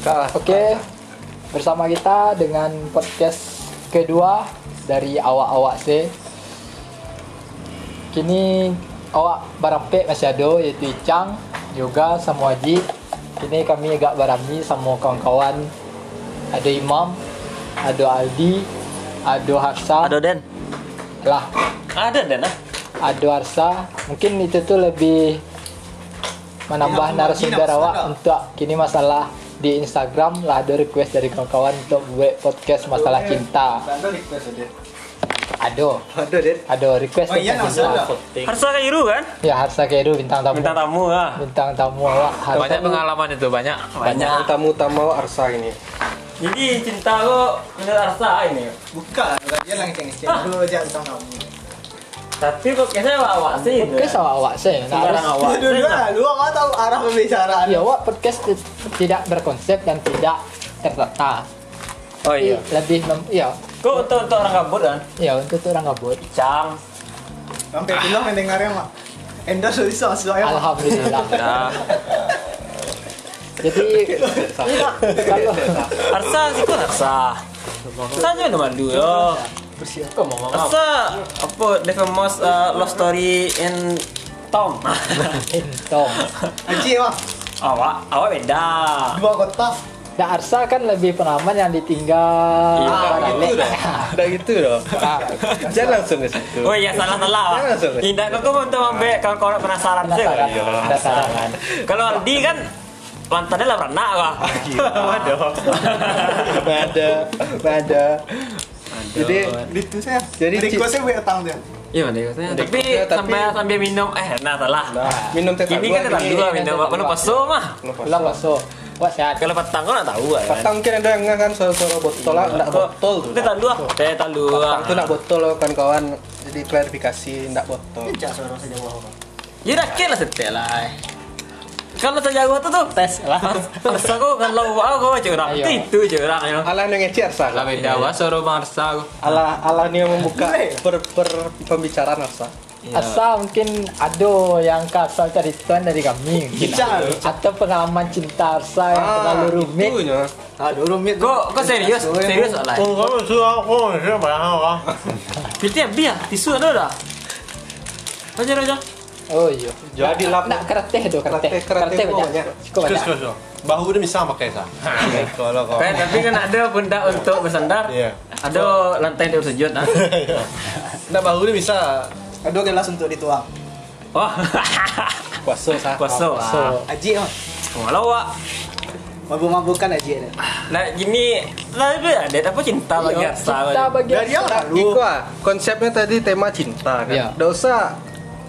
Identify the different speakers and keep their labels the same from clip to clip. Speaker 1: Kalah.
Speaker 2: Oke, bersama kita dengan podcast kedua dari awak-awak C. Kini awak barampek masih ada yaitu Icang juga sama Haji. Kini kami agak barami sama kawan-kawan. Ada Imam, ada Aldi, ada Harsa.
Speaker 3: Ada Den.
Speaker 2: lah,
Speaker 3: Ada Den ah.
Speaker 2: ada Harsa. Mungkin itu tuh lebih menambah
Speaker 1: Iya,
Speaker 2: narasumber
Speaker 1: iya,
Speaker 2: awak
Speaker 1: masalah.
Speaker 2: untuk kini masalah di Instagram lah ada request dari kawan-kawan untuk buat podcast masalah cinta.
Speaker 1: Ada request ada.
Speaker 2: Ada,
Speaker 1: Ada deh.
Speaker 2: ada request
Speaker 1: Oh iya,
Speaker 2: tentang
Speaker 1: masalah.
Speaker 2: cinta.
Speaker 3: Harsa Kairu kan?
Speaker 2: Ya Harsa Keru bintang tamu.
Speaker 3: Bintang tamu ah.
Speaker 2: Bintang tamu awak Harsa
Speaker 4: Banyak
Speaker 2: tu
Speaker 4: pengalaman itu banyak.
Speaker 3: Banyak.
Speaker 5: tamu tamu Arsa ini
Speaker 3: Jadi cinta lo menurut Harsa ini.
Speaker 1: Buka, dia langsung ngecek
Speaker 5: Ah.
Speaker 1: dulu aja tentang kamu.
Speaker 3: Tapi podcastnya awak awak sih.
Speaker 2: Podcast awak awak saya. Nah,
Speaker 3: Sembarang
Speaker 2: harus-
Speaker 3: awak. ya?
Speaker 1: Dulu lah,
Speaker 5: Iya.
Speaker 1: lu nggak tahu arah pembicaraan.
Speaker 2: Ya awak podcast ti- tidak berkonsep dan tidak tertata.
Speaker 3: Oh
Speaker 2: Tapi
Speaker 3: iya.
Speaker 2: Lebih mem ya
Speaker 3: Kok untuk untuk orang kabur kan?
Speaker 2: ya untuk tu orang gabut.
Speaker 3: Cang.
Speaker 1: Sampai bilang mendengarnya mak. Enda sudah bisa masuk ya. Mak.
Speaker 2: Alhamdulillah.
Speaker 3: Ya.
Speaker 4: Nah,
Speaker 2: Jadi kalau
Speaker 3: Harsa sih kok Harsa. Harsa aja udah mandu yo.
Speaker 2: kau mau ngomong apa?
Speaker 3: Harsa apa the famous uh, love story in Tom.
Speaker 2: Eh, Tom.
Speaker 1: Aji ya, mak,
Speaker 3: awak awak beda.
Speaker 1: dua kota.
Speaker 2: Nah Arsa kan lebih pengalaman yang ditinggal.
Speaker 3: Iya,
Speaker 2: Ah,
Speaker 3: gitu
Speaker 2: balik.
Speaker 5: dong udah gitu dong
Speaker 2: Ah,
Speaker 5: jangan langsung ke situ
Speaker 3: Oh iya salah salah. awak.
Speaker 5: Jangan langsung.
Speaker 3: Indah kok kok untuk ambek kalau kau orang penasaran sih.
Speaker 2: Penasaran,
Speaker 3: Iya.
Speaker 2: penasaran.
Speaker 3: Kalau Aldi kan lantarnya lah pernah wah. Waduh.
Speaker 5: ada ada jadi
Speaker 1: Itu gitu, saya.
Speaker 5: Jadi, Ci-
Speaker 1: requestnya gue datang dia.
Speaker 4: iya mana katanya.
Speaker 3: Tapi
Speaker 5: Tapi-
Speaker 3: sampai sampai minum eh nah salah.
Speaker 5: minum teh
Speaker 3: Ini kan tetap dua minum
Speaker 2: tetap
Speaker 3: minum
Speaker 2: dua.
Speaker 3: peso mah.
Speaker 2: Ulang masuk. Wah sehat.
Speaker 3: Kalau petang kau nak tahu kan.
Speaker 5: Patang mungkin ada yang kan suara-suara botol lah, ndak botol.
Speaker 3: Kita tak dua. Kita tak dua.
Speaker 5: Patang tuh ndak botol kan kawan. Jadi klarifikasi ndak botol.
Speaker 1: Jangan suara saya jawab.
Speaker 3: Ya dah kira setel lah. Kalau tak jago tu tu tes lah. Masa kau kalau aku curang
Speaker 2: Ayo.
Speaker 3: tu itu curang ya.
Speaker 5: Alah yang ngeci Arsa.
Speaker 4: Lah beda wah suruh Marsa aku.
Speaker 5: Alah alah nih yang membuka per, per pembicaraan Arsa.
Speaker 2: Asa mungkin ada yang kasar cerita dari kami mungkin.
Speaker 1: Bicara.
Speaker 2: Atau pengalaman cinta Arsa
Speaker 5: Ah,
Speaker 2: yang terlalu rumit.
Speaker 5: itunya.
Speaker 1: Aduh rumit.
Speaker 3: Kau kau serius? Serius lah.
Speaker 6: Kau kamu sudah aku sudah barang apa?
Speaker 3: Kita biar tisu ada dah. Raja raja.
Speaker 2: Oh iya.
Speaker 5: Jadi
Speaker 2: Nak-
Speaker 5: lap-
Speaker 2: Nak kereteh tu kereteh.
Speaker 5: Kereteh- kereteh
Speaker 2: Kereteh banyak.
Speaker 5: banyak.
Speaker 2: Cukup
Speaker 6: Terus
Speaker 2: banyak.
Speaker 6: terus terus. Bahu udah bisa pakai sah. Kalau kau.
Speaker 3: Kan tapi kan ada pundak untuk bersandar.
Speaker 6: Iya.
Speaker 3: Ada lantai untuk sujud ah.
Speaker 6: Nah bahu udah bisa.
Speaker 1: Aduh gelas untuk dituang.
Speaker 3: Wah.
Speaker 5: Kuaso sah.
Speaker 3: Kuasa.
Speaker 2: So,
Speaker 1: Aji mak,
Speaker 3: Kalau wak
Speaker 1: mabuk-mabukan Aji. ya.
Speaker 5: Iya.
Speaker 1: dia.
Speaker 3: Nah gini Tapi ada apa cinta lagi
Speaker 2: iya, cinta
Speaker 3: Ah, Arsa
Speaker 2: bagi
Speaker 1: Dari
Speaker 2: Arsa.
Speaker 1: awal.
Speaker 5: Iku ah, konsepnya tadi tema cinta kan.
Speaker 2: Iya.
Speaker 5: Ndak usah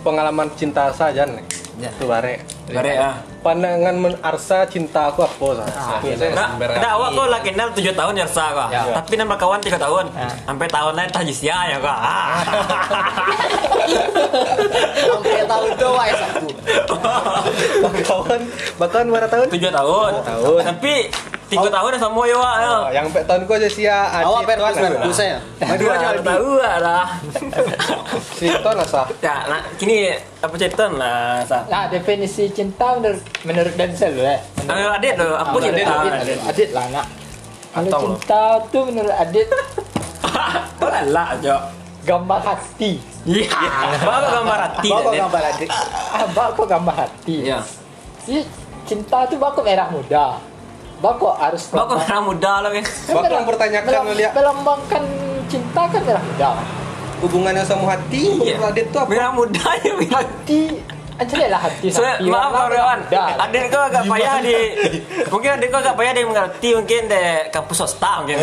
Speaker 5: pengalaman cinta saja nih.
Speaker 3: Iya.
Speaker 5: Tuh bare.
Speaker 3: Barek ah
Speaker 5: Pandangan men Arsa cinta aku apa sah.
Speaker 3: Nah, nah awak kau lah kenal 7 tahun ya Arsa kau.
Speaker 2: Ya.
Speaker 3: Tapi nama kawan 3 tahun. Sampai tahun lain tajis ya ya kau. Ah.
Speaker 1: Sampai tahu itu ya, wah satu.
Speaker 5: Kawan bahkan berapa tahun?
Speaker 3: 7 tahun.
Speaker 5: tahun.
Speaker 3: Tapi 3 tahun dah sama ya awak. ya.
Speaker 5: Oh, yang empat tahun kau aja sia
Speaker 1: Awak
Speaker 5: Acik
Speaker 1: perlu
Speaker 5: tuan lah.
Speaker 1: saya.
Speaker 3: iya. Dua tahu lah dah.
Speaker 5: Seliton lah sah.
Speaker 3: Ya, nah, kini apa cerita lah Arsa?
Speaker 2: Nah, definisi cinta menurut menurut Denzel lah.
Speaker 3: Ayo adik lo, ya, apa
Speaker 2: Adit,
Speaker 3: cinta?
Speaker 2: Adit, Adit, Adit lah nak. Kalau cinta tu menurut Adit
Speaker 3: Kau lah lah jo.
Speaker 2: gambar hati.
Speaker 3: Iya. Bawa gambar hati.
Speaker 1: Bawa
Speaker 3: Adit.
Speaker 1: gambar Aji.
Speaker 2: Abang Ah, kau gambar hati.
Speaker 3: Iya.
Speaker 2: Jadi, cinta tu baku merah muda. Baku harus
Speaker 3: Bawa kau merah muda lo kan.
Speaker 5: Baku mempertanyakan
Speaker 2: melem-
Speaker 5: Mulia.
Speaker 2: Melambangkan cinta kan merah muda.
Speaker 5: Hubungannya sama hati, menurut Adit tuh apa?
Speaker 3: Merah muda ya merah
Speaker 2: Hati Anjir lah hati
Speaker 3: Saya
Speaker 2: hati warna
Speaker 3: maaf kawan-kawan.
Speaker 2: merah muda.
Speaker 3: Adik kau agak payah di mungkin adik kau agak payah dia mengerti mungkin di kampus swasta mungkin.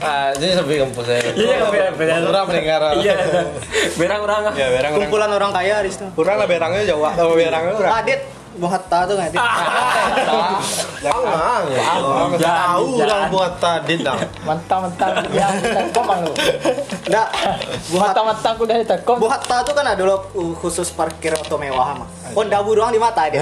Speaker 5: Ah, jadi sampai kampus saya.
Speaker 3: Iya beda.
Speaker 6: Orang mendengar.
Speaker 3: Iya. Berang orang.
Speaker 5: Ya berang berang.
Speaker 1: Kumpulan orang kaya di situ.
Speaker 5: Kurang lah berangnya Jawa sama berangnya kurang. Ah.
Speaker 1: Adit, buah hatta tuh nggak Adit?
Speaker 6: Jangan. Tahu orang buat tadi dong.
Speaker 2: Mentang-mentang yang telkom lu.
Speaker 1: Nggak. Buah hatta,
Speaker 2: Mentang-mentang aku dari telkom.
Speaker 1: buah hatta tuh kan ada lo uh, khusus parkir auto mewah mah. Honda bu doang di mata Adit.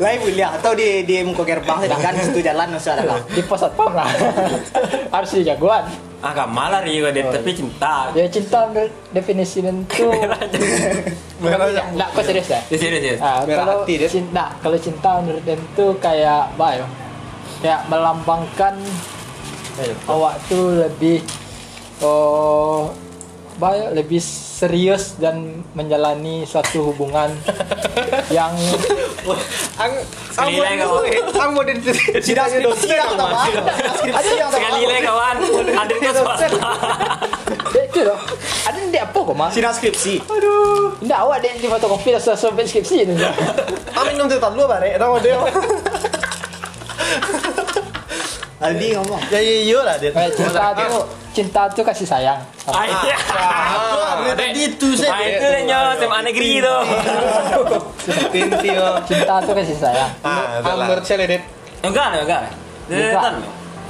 Speaker 1: Lain kuliah atau di di muka gerbang tadi kan di situ jalan masih ada lah.
Speaker 2: Di pos satpam lah. Harus di jagoan.
Speaker 3: agak malah Rio deh, tapi cinta.
Speaker 2: Ya cinta menurut definisi dan itu
Speaker 3: Merah aja.
Speaker 6: Merah
Speaker 2: Nak kau serius ya?
Speaker 3: Ya, serius, serius.
Speaker 2: Ah,
Speaker 5: Merah
Speaker 2: kalau
Speaker 5: hati dia.
Speaker 2: cinta, kalau cinta menurut dan itu kayak bayo. Kayak melambangkan
Speaker 5: Iya,
Speaker 2: awak tuh lebih oh bayo lebih serius dan menjalani suatu hubungan yang
Speaker 5: Ang ang
Speaker 3: Sekali lagi,
Speaker 5: mau ang mau di
Speaker 1: Sidang skripsi yang tambah. Sidang skripsi yang
Speaker 3: Sekali
Speaker 1: tambah.
Speaker 3: lagi kawan, adiknya swasta.
Speaker 2: Dek, Ya, itu loh. Ada ni dek apa kau mas?
Speaker 1: Sidang skripsi.
Speaker 2: Ndak awak dek di fotokopi dah sudah sampai skripsi ni.
Speaker 6: Ang minum tetan lu bare, nama dia.
Speaker 1: Aldi ngomong.
Speaker 6: Ya ya ya lah dia.
Speaker 2: Eh, cinta tu cinta tu kasih sayang.
Speaker 3: Ayah.
Speaker 6: Ah, tadi itu
Speaker 3: Ah,
Speaker 6: saya.
Speaker 3: itu nyo SMA negeri itu.
Speaker 5: Tinti yo.
Speaker 2: Cinta tu kasih sayang.
Speaker 6: Ah,
Speaker 5: Ang menurut saya Dit.
Speaker 3: Enggak, enggak.
Speaker 2: Enggak.
Speaker 3: Detan.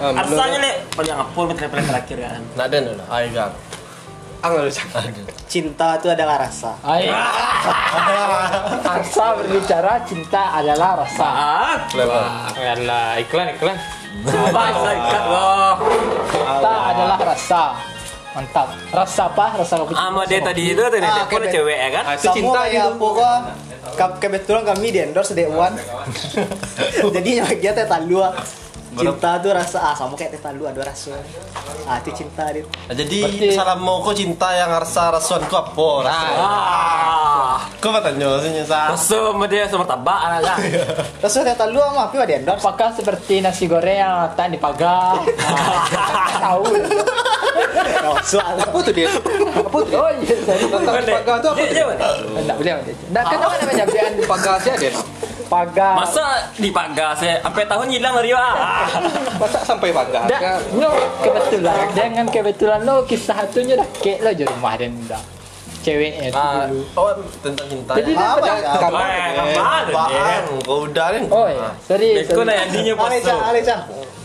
Speaker 5: Ah, belum.
Speaker 3: Asalnya nih, banyak ngepul meter terakhir kan.
Speaker 6: Nak den lah. Ai gak.
Speaker 5: Ang menurut saya.
Speaker 1: Cinta itu adalah rasa.
Speaker 2: Hai. Angsa berbicara cinta adalah rasa.
Speaker 3: Ah,
Speaker 6: Lebar.
Speaker 4: Alah, iklan iklan.
Speaker 3: bahasa ikat wah.
Speaker 2: Cinta adalah rasa. Mantap. Rasa apa? Rasa kopi.
Speaker 3: Sama dia tadi itu tadi
Speaker 1: Ah,
Speaker 3: dia pun
Speaker 1: oke, deh.
Speaker 3: cewek ya kan.
Speaker 5: Ah, itu
Speaker 1: Kamu
Speaker 5: cinta
Speaker 1: kayak
Speaker 6: gitu.
Speaker 5: itu.
Speaker 1: pokok ke- kebetulan kami di endorse Day One. Jadi yang dia teh talua. Cinta tuh rasa ah sama kayak teh talua ada rasa. Ah itu cinta dia.
Speaker 6: Nah, jadi
Speaker 2: Berarti-
Speaker 6: salam mau kau cinta yang rasa rasuan kau apa? Rasa.
Speaker 3: Ah,
Speaker 6: Kau bertanya sini sa.
Speaker 3: terus sama dia sama tabak anak
Speaker 1: Rasa teh talua mah apa di endorse?
Speaker 2: Apakah seperti nasi goreng yang letak di pagar? Ah, Tahu.
Speaker 1: Soal
Speaker 5: Apa tuh dia? Apa tuh?
Speaker 2: Oh iya, sorry.
Speaker 5: Tentang pagar tuh apa? tuh?
Speaker 2: Enggak boleh.
Speaker 5: Nah, kan mana penyampaian pagar sih Dit?
Speaker 2: Pagar.
Speaker 3: Masa di pagar saya sampai tahun hilang dari ah.
Speaker 5: Masa sampai pagar?
Speaker 2: Dak,
Speaker 5: Kan?
Speaker 2: no, kebetulan. Dengan kebetulan lo kisah hatunya dah kek lo je rumah dan dah. Ceweknya tu
Speaker 6: Ah,
Speaker 2: dulu.
Speaker 6: oh tentang cinta.
Speaker 2: Jadi dia
Speaker 1: apa
Speaker 2: pernah
Speaker 1: ya?
Speaker 5: Kabar.
Speaker 3: Eh,
Speaker 6: Eh,
Speaker 3: kapan?
Speaker 6: apaan? Kau udah nih.
Speaker 2: Oh ya, sorry.
Speaker 3: Itu
Speaker 2: sorry.
Speaker 3: nih andinya
Speaker 1: Ale
Speaker 3: pasu.
Speaker 1: cang, ale cang.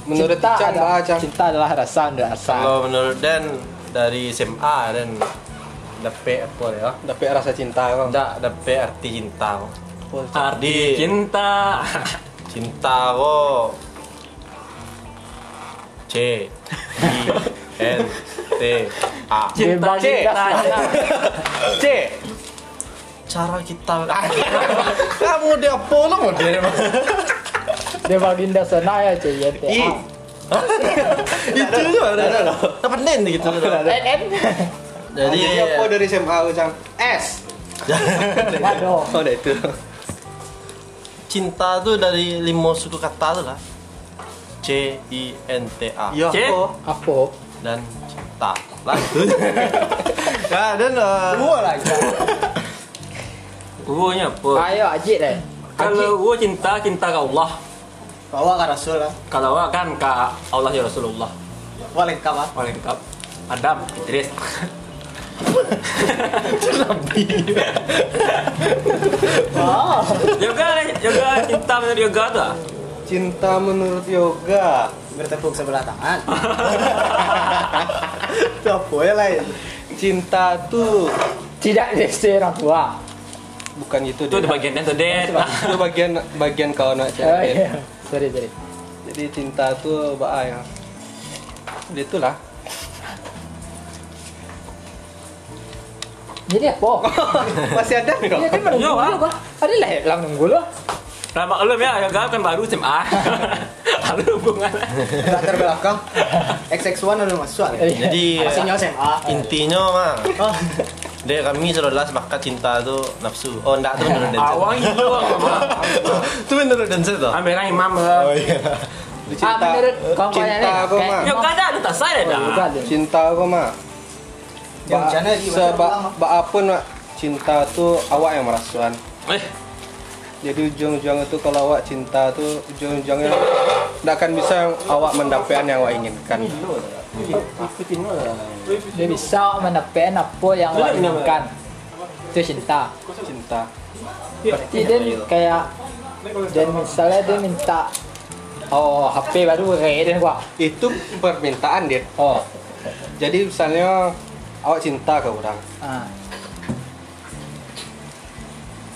Speaker 5: Menurut
Speaker 2: cinta
Speaker 5: Cang
Speaker 2: adalah
Speaker 5: lah Cang.
Speaker 2: cinta adalah rasa menurut rasa.
Speaker 6: Kalau menurut Dan dari SMA Dan dapet apa ya?
Speaker 5: Tapi rasa cinta kok.
Speaker 6: Tidak dapet arti cinta. kok.
Speaker 3: Ardi
Speaker 6: Di-
Speaker 3: cinta.
Speaker 6: Cinta kok. C I N T A.
Speaker 3: Cinta
Speaker 2: Dia bagi
Speaker 3: cinta.
Speaker 2: dah.
Speaker 5: C.
Speaker 6: Cara kita Ah. kamu dia polo mau
Speaker 2: Iya.
Speaker 6: dia mah.
Speaker 2: Dia baginda sana ya cewek.
Speaker 6: I. Itu ada loh. Dapat Den gitu.
Speaker 2: NN.
Speaker 6: Jadi ya.
Speaker 5: Jadi apa dari SMA kau, Cang? S.
Speaker 2: Waduh.
Speaker 5: Oh, dah itu.
Speaker 6: cinta tuh dari lima suku kata tuh lah. C I N T A.
Speaker 5: Ya,
Speaker 3: C.
Speaker 5: apa?
Speaker 2: Apa?
Speaker 6: dan cinta lanjut nah dan eh,
Speaker 5: Dua lagi.
Speaker 3: Uwonya apa?
Speaker 2: Ayo ajik deh.
Speaker 3: Kalau uwo cinta cinta ke Allah.
Speaker 1: Bawa ke Rasul lah.
Speaker 3: Kalau uwo kan ke Allah ya Rasulullah.
Speaker 1: Wah lengkap ah.
Speaker 3: Paling lengkap. Adam, Idris.
Speaker 1: Wow.
Speaker 3: yoga, yoga cinta menurut yoga tuh. ah?
Speaker 5: Cinta menurut yoga.
Speaker 1: Bertepuk sebelah tangan. Itu apa ya lain?
Speaker 5: Cinta tuh
Speaker 2: Tidak desi orang tua.
Speaker 5: bukan gitu
Speaker 3: Itu di
Speaker 5: Dit.
Speaker 3: bagiannya tuh deh.
Speaker 5: itu bagian bagian kau
Speaker 2: Oh,
Speaker 5: nak cari.
Speaker 2: iya. Sorry sorry.
Speaker 5: Jadi cinta tuh bah ya. Dia itulah.
Speaker 2: Jadi apa?
Speaker 5: Masih ada
Speaker 2: Ya
Speaker 5: kok.
Speaker 2: kan menunggu
Speaker 3: Yo, ah.
Speaker 2: dulu bah. Ada lah lang nunggu lo.
Speaker 3: Nah, maklum ya, yoga kan baru SMA. Ada hubungan.
Speaker 1: Latar belakang. XX1 udah masuk ah.
Speaker 2: Iya.
Speaker 6: jadi
Speaker 1: Masih nyawa SMA.
Speaker 6: intinya mah deh kami jelas maka cinta tuh nafsu oh enggak tuh menurut Denzel
Speaker 3: Awang itu
Speaker 6: itu menurut Denzel tuh
Speaker 3: Ambil lah imam.
Speaker 6: oh iya
Speaker 2: Ah
Speaker 5: Cinta.
Speaker 2: menurut kau kau
Speaker 5: cinta aku mah.
Speaker 3: Yoga Ya, ada ada tak saya
Speaker 2: Juga
Speaker 3: dah.
Speaker 2: ada.
Speaker 5: Cinta aku mah.
Speaker 1: Yang
Speaker 5: Ba,
Speaker 1: jana di-
Speaker 5: seba, ba apa nak cinta tuh awak yang merasuan.
Speaker 3: Eh,
Speaker 5: Jadi ujung-ujung itu kalau awak cinta tuh ujung-ujungnya tidak akan bisa awak mendapatkan yang awak inginkan.
Speaker 2: Dia bisa menepen apa yang lo inginkan. Itu cinta.
Speaker 5: Cinta.
Speaker 2: Berarti dia kayak dan misalnya dia minta oh HP baru kayak dia gua.
Speaker 5: Itu permintaan dia.
Speaker 2: Oh.
Speaker 5: Jadi misalnya awak cinta ke orang,
Speaker 2: Ah.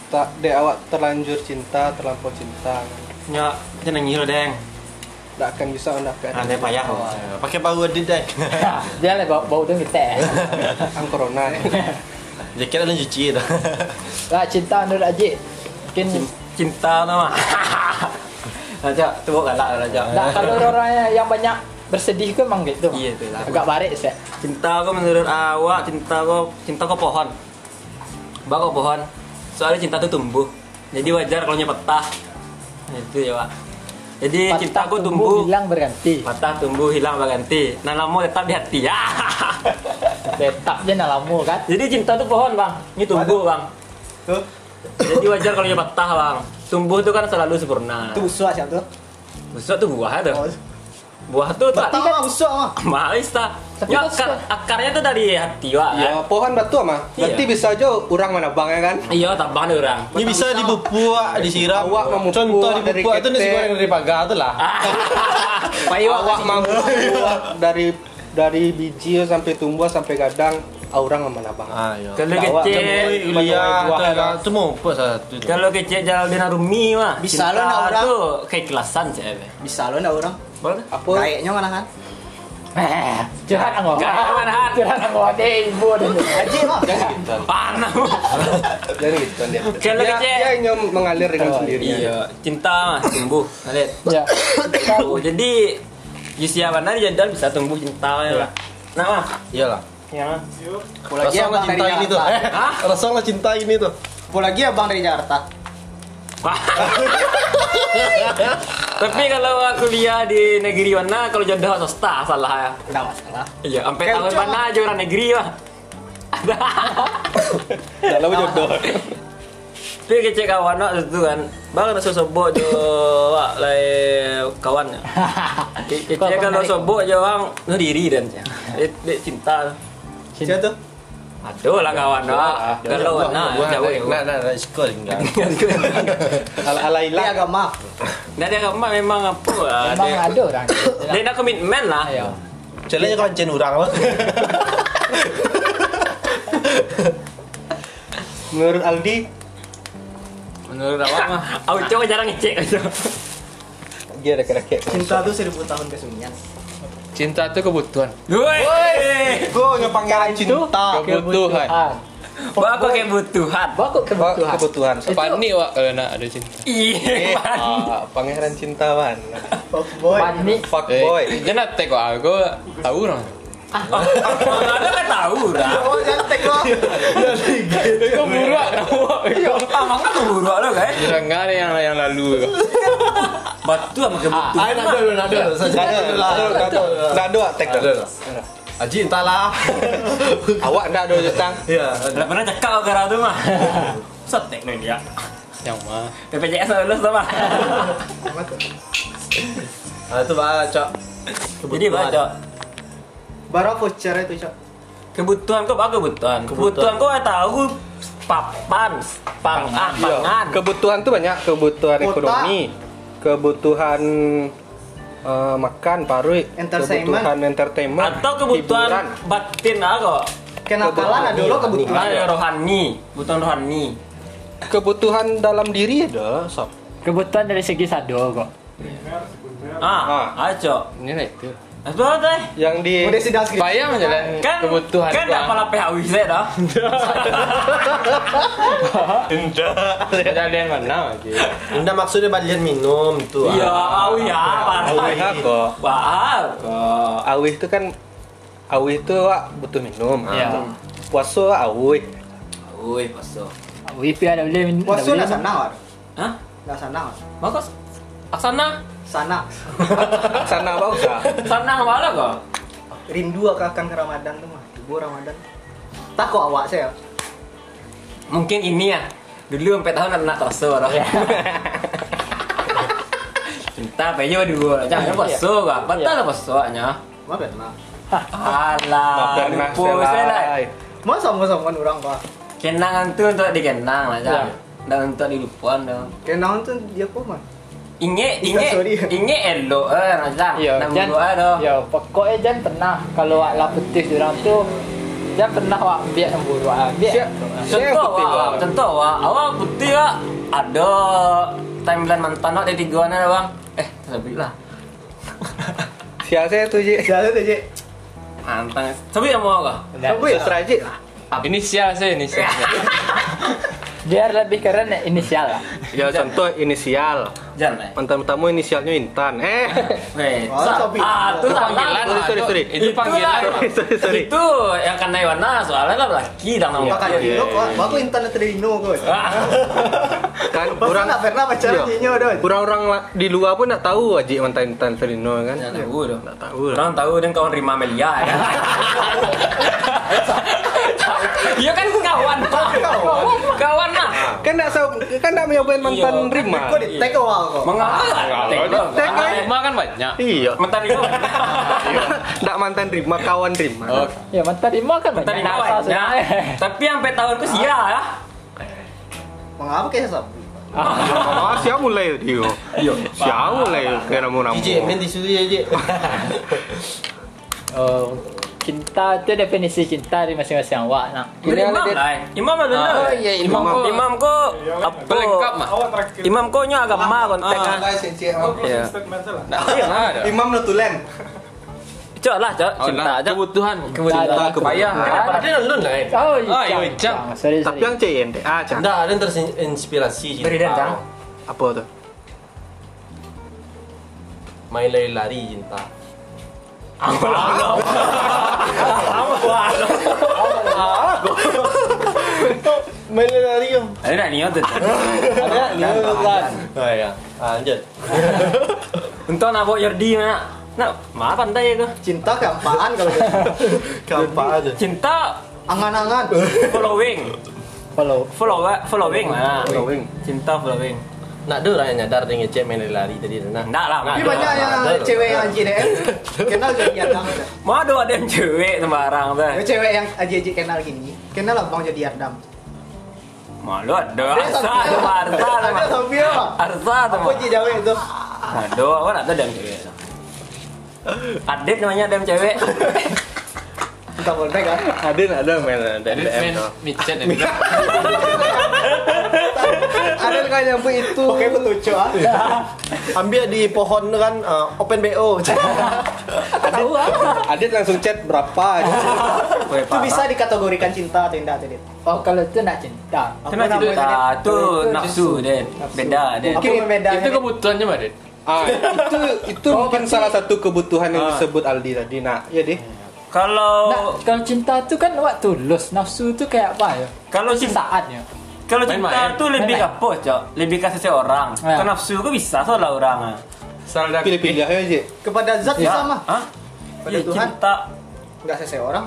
Speaker 5: tak dek awak terlanjur cinta, terlampau cinta.
Speaker 3: nyak, jangan nyiro deng.
Speaker 5: Nggak akan bisa mendapatkan
Speaker 6: Aneh payah. oh. Pakai power deh deh.
Speaker 2: Dia lah bau, bau dengan kita.
Speaker 5: ang corona.
Speaker 6: Jaket ada cuci dah.
Speaker 2: Lah cinta Nur Aji. Mungkin
Speaker 3: Cinta nama. Raja, tu buat galak lah, Raja.
Speaker 2: nah, kalau orang yang banyak bersedih kan memang gitu.
Speaker 3: Iya, tu lah.
Speaker 2: Agak barik sih.
Speaker 3: Cinta kau menurut awak, cinta kau cinta kau pohon. Bak kau pohon. Soalnya cinta tu tumbuh. Jadi wajar kalau nya petah. Itu ya, Wak. Jadi Eh, cinta
Speaker 2: Patah
Speaker 3: aku tumbuh,
Speaker 2: hilang berganti.
Speaker 3: patah tumbuh hilang berganti. Nah, lama tetap di hati. Ya.
Speaker 2: Tetap je nak lama kan.
Speaker 3: Jadi cinta tu pohon, Bang. Ini tumbuh, Bang. Jadi wajar kalau nya petah, Bang. Tumbuh tu kan selalu sempurna.
Speaker 1: Itu busuk macam tu.
Speaker 3: Besok tu buah tu.
Speaker 1: Oh,
Speaker 3: Buah tu tak
Speaker 1: Tahu mah busuk mah.
Speaker 3: Mahal Ista. Ya, akar, akarnya tuh dari hati wak. kan?
Speaker 5: Ya, pohon batu mah. Berarti
Speaker 3: Iya.
Speaker 5: bisa aja orang mana bang ya kan?
Speaker 3: Iya, tambah nih orang.
Speaker 6: Ini bisa dibubuak, disiram.
Speaker 5: Awak memupuk
Speaker 6: Contoh
Speaker 5: dari
Speaker 6: dibubuak itu nasi
Speaker 5: ketek.
Speaker 6: goreng dari pagar tu lah.
Speaker 3: Pai wak.
Speaker 5: Awak mampu keluar dari dari biji sampai tumbuh sampai gadang orang mana bang.
Speaker 6: Ayo.
Speaker 3: Kalau
Speaker 5: Awak
Speaker 3: kecil,
Speaker 6: iya, Kuliah, tak tu mumpuk satu. tu.
Speaker 3: kalau kecil jalan di rumi wak. Cinta
Speaker 1: Bisa lo nak orang.
Speaker 3: tuh keikhlasan sih. Ebe.
Speaker 1: Bisa lo ndak orang.
Speaker 3: Boleh?
Speaker 5: Apa?
Speaker 1: Kayaknya mana kan?
Speaker 2: Eh, curhat angok.
Speaker 3: Jangan manahan.
Speaker 2: Curhat angok deh ibu deh.
Speaker 1: Aji mah.
Speaker 3: Panah. wak.
Speaker 5: Jadi gitu dia.
Speaker 3: Kalau
Speaker 5: Dia,
Speaker 3: kecil.
Speaker 5: dia nyom mengalir dengan sendirinya.
Speaker 3: Iya, cinta mah tumbuh. Lihat.
Speaker 2: Ya.
Speaker 3: Tuh, jadi usia mana jalan bisa tumbuh cinta ya. Wak. Nah, wak.
Speaker 6: Iyalah.
Speaker 5: Iya.
Speaker 3: Ya.
Speaker 1: Apa lagi
Speaker 6: Rasalah
Speaker 1: abang dari
Speaker 6: cinta ini tuh.
Speaker 1: Jakarta?
Speaker 3: Hah?
Speaker 6: Rasalah cinta ini tuh.
Speaker 1: Apa lagi abang dari Jakarta?
Speaker 3: Wah. Tapi kalau aku kuliah di negeri mana kalau jodoh swasta salah ya.
Speaker 1: Enggak masalah.
Speaker 3: Iya, sampai tahun mana aja orang negeri mah.
Speaker 5: Dalam jodoh.
Speaker 3: Tapi kecil kawan nak itu kan. Bang nak sobok je wak lai kawan. ya. Ke- Kecil kan kalau sobok je orang nu diri dan. ya. Dia dia cinta.
Speaker 1: Siapa tuh?
Speaker 3: Aduh lah kawan nak. Kalau
Speaker 6: Nah,
Speaker 3: nak jauh jauh.
Speaker 5: Nah,
Speaker 6: Nak nak nak sekolah enggak.
Speaker 5: Al
Speaker 1: Ini
Speaker 5: Alailah.
Speaker 1: Iya, agama.
Speaker 3: Dan dia mak memang apa lah,
Speaker 2: Memang
Speaker 3: dia-
Speaker 2: ada orang.
Speaker 3: Dia nak komitmen lah.
Speaker 2: Ayo.
Speaker 6: Challenge kau encen orang apa?
Speaker 5: Menurut Aldi,
Speaker 4: Menurut awak mah
Speaker 3: Aku coba jarang ngecek.
Speaker 5: dia ada kereket.
Speaker 1: Cinta tuh seribu tahun kesunyian.
Speaker 4: cinta itu kebutuhan.
Speaker 3: Woi.
Speaker 5: Gue ngepanggilin cinta.
Speaker 4: Kebutuhan.
Speaker 3: Wah, aku kayak butuhan.
Speaker 2: Bakuk
Speaker 5: Wah,
Speaker 2: Ah, kebutuhan.
Speaker 5: Kebutuhan.
Speaker 4: Panik wak kalau nak ada cinta.
Speaker 5: Eh,
Speaker 3: Iya.
Speaker 5: ah, pangeran cinta man.
Speaker 1: Oh boy.
Speaker 2: Panik.
Speaker 5: Fuck
Speaker 4: Eh,
Speaker 5: boy.
Speaker 4: jangan tag kok aku tahu orang.
Speaker 3: Mana kan tahu dah.
Speaker 1: Oh jantek lo.
Speaker 4: Kau buruak tahu.
Speaker 3: Amang kan buru lo kan.
Speaker 4: Jangan yang yang lalu.
Speaker 3: Batu sama kebutuhan.
Speaker 6: Ayo nak dulu nak dulu.
Speaker 5: Nado, nado, nado, nado, tek nado.
Speaker 6: Aji entahlah.
Speaker 5: Awak nado jutang.
Speaker 6: Ya.
Speaker 3: Lah pernah cekak kau gara tu mah. Setek nih dia.
Speaker 4: Yang mah.
Speaker 3: BPJS sama lulus sama.
Speaker 6: Ah tu bah cak.
Speaker 3: Jadi baca.
Speaker 1: Baru voucher itu cok.
Speaker 3: Kebutuhan kau apa kebutuhan? Kebutuhan kau tahu papan, pangan, pangan.
Speaker 5: iya. Kebutuhan tuh banyak, kebutuhan
Speaker 1: Kota.
Speaker 5: ekonomi, kebutuhan eh, makan, paru,
Speaker 1: Entertainment.
Speaker 5: kebutuhan entertainment,
Speaker 3: Atau kebutuhan
Speaker 5: hiburan.
Speaker 3: batin aku.
Speaker 1: Kenakalan ada lo kebutuhan.
Speaker 3: Ada rohani, kebutuhan rohani.
Speaker 5: kebutuhan dalam diri ada, sob.
Speaker 2: Kebutuhan dari segi sado kok.
Speaker 3: Ah, ayo. Eh,
Speaker 4: Ini lah itu.
Speaker 3: Apa teh?
Speaker 5: Yang di
Speaker 1: Udah sidang skripsi.
Speaker 4: Bayang aja lah
Speaker 3: kan
Speaker 4: kebutuhan.
Speaker 3: kan tak pala PHW saya dah
Speaker 4: Ada yang mana aja.
Speaker 6: Anda maksudnya balian minum tu. ah.
Speaker 3: iya au ya
Speaker 5: awih
Speaker 3: parah
Speaker 5: kok.
Speaker 3: wow
Speaker 5: Eh, awih itu kan awih itu wak butuh minum. Nah,
Speaker 2: Ya.
Speaker 5: Puasa wak, awih.
Speaker 3: oi paso
Speaker 2: Wifi ada boleh minum.
Speaker 1: Puasa nak sana war.
Speaker 3: hah
Speaker 1: Nak sana war.
Speaker 3: bagus aksana
Speaker 1: Sana.
Speaker 5: Sana wak usah.
Speaker 3: sana wala kok
Speaker 1: Rindu akan ke Ramadan tuh mah. Ibu Ramadan. Tak kok awak saya.
Speaker 3: mungkin ini ya dulu sampai tahun anak terasa orang cinta pejo dua jangan paso kok betul lah paso nya
Speaker 1: Maafkan lah.
Speaker 3: alah
Speaker 5: Makan
Speaker 3: lupa Ah, saya lah
Speaker 5: nasi
Speaker 1: Masa masa kan orang pak.
Speaker 3: kenangan tu untuk dikenang lah jangan dan untuk dilupakan dong
Speaker 1: Kenangan tuh dia kok mah.
Speaker 3: Inge, inge,
Speaker 1: Iya, Sorry.
Speaker 3: inge elok eh, Razak.
Speaker 2: Yo, Iya,
Speaker 3: Nak
Speaker 2: Ya, Jan.
Speaker 3: buruk eh, doh.
Speaker 2: Yo, pokoknya Jan pernah kalau wak lah putih orang tu Jan pernah wak biar semburu wak biar.
Speaker 1: Iya,
Speaker 3: Contoh wak, contoh wak, awak putih wak Ada timeline mantan wak dari tiga anak bang Eh, tak boleh lah
Speaker 5: Sial saya tuh Ji.
Speaker 1: Siapa tuh Ji?
Speaker 3: Antang. Tapi yang mau kah?
Speaker 1: Kamu ya?
Speaker 5: Sastra Ji.
Speaker 4: Inisial
Speaker 1: Iya.
Speaker 4: saya inisial.
Speaker 2: Biar lebih keren ya, inisial lah.
Speaker 5: Ya contoh inisial.
Speaker 3: Jangan.
Speaker 5: Mantan tamu inisialnya Intan. Eh.
Speaker 3: eh. Weh,
Speaker 1: Oh,
Speaker 3: sa-
Speaker 1: tapi-
Speaker 3: ah, itu panggilan.
Speaker 5: Sorry, sorry, sorry.
Speaker 4: Itu panggilan.
Speaker 5: sorry, sorry.
Speaker 3: Itu yang kena warna soalnya kan lah laki dan nama
Speaker 1: Kakak
Speaker 3: laki.
Speaker 1: Dino, kok aku internet dari Dino kok.
Speaker 3: Ah,
Speaker 5: Kan
Speaker 1: Orang nggak pernah pacaran
Speaker 5: Iya.
Speaker 1: Dino doang.
Speaker 5: Orang-orang la- di luar pun nggak tahu Ji mantan Intan Serino kan.
Speaker 3: Nggak tahu dong.
Speaker 5: Nggak tahu. lah.
Speaker 3: Orang tahu dan kawan Rima Melia ya. Iya kan kawan, kawan, Nah. kawan lah.
Speaker 5: Kan nggak tahu- kan nggak nyobain mantan
Speaker 3: Iya.
Speaker 5: Rima.
Speaker 1: Kok di tag awal kok.
Speaker 3: Mengapa?
Speaker 5: Tag
Speaker 3: ya.
Speaker 5: kan?
Speaker 4: Rumah kan banyak.
Speaker 5: Iya.
Speaker 3: Mentar Rima. Iya.
Speaker 5: Nggak mantan Rima, kawan Rima.
Speaker 2: Ya mantan Imo kan
Speaker 3: Mentar Rima
Speaker 2: apa sih?
Speaker 3: banyak. Nah, Tapi sampai tahun ke sia ya.
Speaker 1: Mengapa kayak sapi?
Speaker 5: Ah, siapa mulai dia? Iya. Siapa mulai kena mau namu?
Speaker 6: Ije, main tisu ya, Ije.
Speaker 2: Oh, cinta itu definisi cinta di masing-masing awak nak.
Speaker 3: Imam lah. Imam ada
Speaker 4: Ah,
Speaker 3: dah.
Speaker 4: iya, imam kok.
Speaker 3: Imam ko Iya, apa?
Speaker 4: Pelengkap mah.
Speaker 3: Imam ko nya agama kontak. ah. Iya.
Speaker 1: Imam Nutulen.
Speaker 3: Cok lah, cok. Cinta
Speaker 4: Cinta
Speaker 3: aja.
Speaker 4: kebutuhan.
Speaker 2: Cinta
Speaker 4: kebayang.
Speaker 6: Ada nonton lah. eh.
Speaker 2: Oh,
Speaker 4: Ah,
Speaker 2: iya,
Speaker 4: iya, Cang.
Speaker 2: Sorry, sorry.
Speaker 5: Tapi yang CNT, ah cang.
Speaker 6: Nggak, ada yang terinspirasi Ije.
Speaker 3: Beri dan, Cang.
Speaker 5: Apa tuh?
Speaker 6: Main lari-lari cinta. Main lari yo.
Speaker 3: Ada nak niat tu.
Speaker 6: Ada yang nonton. Oh iya. Lanjut.
Speaker 3: Untuk nak buat Yardi nak. Nak, mah pandai ke?
Speaker 1: Cinta gampang kalau gitu.
Speaker 6: Gampang aja.
Speaker 3: Cinta
Speaker 1: Angan-angan.
Speaker 3: following.
Speaker 2: Follow.
Speaker 3: Follow following lah.
Speaker 5: Following.
Speaker 3: Cinta following.
Speaker 6: Nak ada orang yang nyadar dia ngecek main lari tadi. Nah.
Speaker 3: Enggak lah,
Speaker 1: Tapi
Speaker 3: enggak.
Speaker 1: banyak yang cewek yang anji deh. Kenal jadi Ardam.
Speaker 3: Mau ada ada yang cewek sembarang tu.
Speaker 1: Ya, cewek yang aji-aji kenal gini. Kenal abang jadi Ardam.
Speaker 3: Mau ada
Speaker 1: Ada
Speaker 3: arsa
Speaker 1: tapi-
Speaker 3: tu, arsa tu.
Speaker 1: Ada tapi apa?
Speaker 3: Arsa tu.
Speaker 1: Apa Ji Jawa itu?
Speaker 3: Ada, apa nak ada yang cewek. Adit namanya ada yang cewek.
Speaker 1: Kita kontak kan?
Speaker 5: Ada nggak ada main ada
Speaker 4: Jadi main micet ya.
Speaker 1: Ada kan yang bu itu. Oke, betucu ah.
Speaker 6: Ambil di pohon tu kan eh, open BO.
Speaker 2: lah.
Speaker 5: Adit langsung chat berapa?
Speaker 1: ah. Itu bisa dikategorikan cinta atau tidak tadi?
Speaker 2: Oh, kalau itu nak cinta.
Speaker 3: Kena cinta Ah, tu nafsu Den. Beda Den.
Speaker 1: Apa
Speaker 2: Oh,
Speaker 1: beda?
Speaker 4: Itu kebutuhan cuma deh.
Speaker 5: ah itu itu mungkin salah satu kebutuhan yang disebut Aldi tadi. Nah,
Speaker 1: Iya,
Speaker 5: ya deh.
Speaker 2: Nak,
Speaker 3: Kalau
Speaker 2: kalau cinta itu kan awak tulus. Nafsu itu kayak apa ya?
Speaker 3: kalau cinta
Speaker 2: Saatnya.
Speaker 3: Kalau
Speaker 4: Main
Speaker 3: cinta
Speaker 4: main.
Speaker 3: tu lebih ke
Speaker 2: Main
Speaker 3: apa, Cok? Lebih ke seseorang.
Speaker 2: Ya.
Speaker 3: Kalau nafsu ke bisa soalnya orang. ah.
Speaker 4: Salah dah.
Speaker 5: Pilih-pilih aja Ji.
Speaker 1: Kepada
Speaker 2: Eh,
Speaker 1: zat
Speaker 3: Ya.
Speaker 1: sama.
Speaker 3: Ha?
Speaker 1: Pada
Speaker 3: Ya,
Speaker 1: Tuhan.
Speaker 3: cinta.
Speaker 1: Enggak seseorang.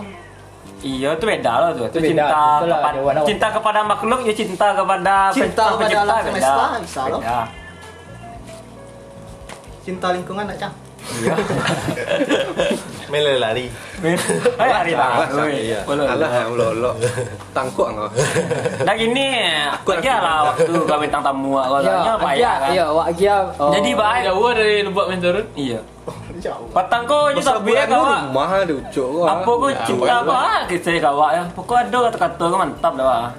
Speaker 3: Iya, itu beda lah tu. Itu
Speaker 2: beda,
Speaker 3: cinta
Speaker 2: betul lah,
Speaker 3: kepada
Speaker 2: ada warna-
Speaker 3: cinta kepada makhluk, ya cinta kepada
Speaker 1: Cinta
Speaker 3: pencipta-
Speaker 1: kepada alam
Speaker 3: pencipta,
Speaker 1: semesta,
Speaker 3: beda.
Speaker 1: bisa lah.
Speaker 3: Beda.
Speaker 1: Cinta lingkungan nak cang.
Speaker 6: Main lari-lari.
Speaker 3: Eh, hari lah.
Speaker 5: Iya. Alah, ulolo. Tangkuk enggak.
Speaker 3: Nah gini, lagi lah waktu kau bintang tamu aku soalnya payah kan.
Speaker 2: Ya, awak dia. oh.
Speaker 3: Jadi baik.
Speaker 4: Jauh dari lubuk main turun.
Speaker 3: Iya.
Speaker 1: Jauh.
Speaker 3: Patang kau je tak biar
Speaker 5: Bulan
Speaker 3: kau. ah.
Speaker 5: rumah ada ucuk kau.
Speaker 3: Apa kau cinta apa ah, kita kau ya. Pokok ada kata-kata kau mantap dah. ah.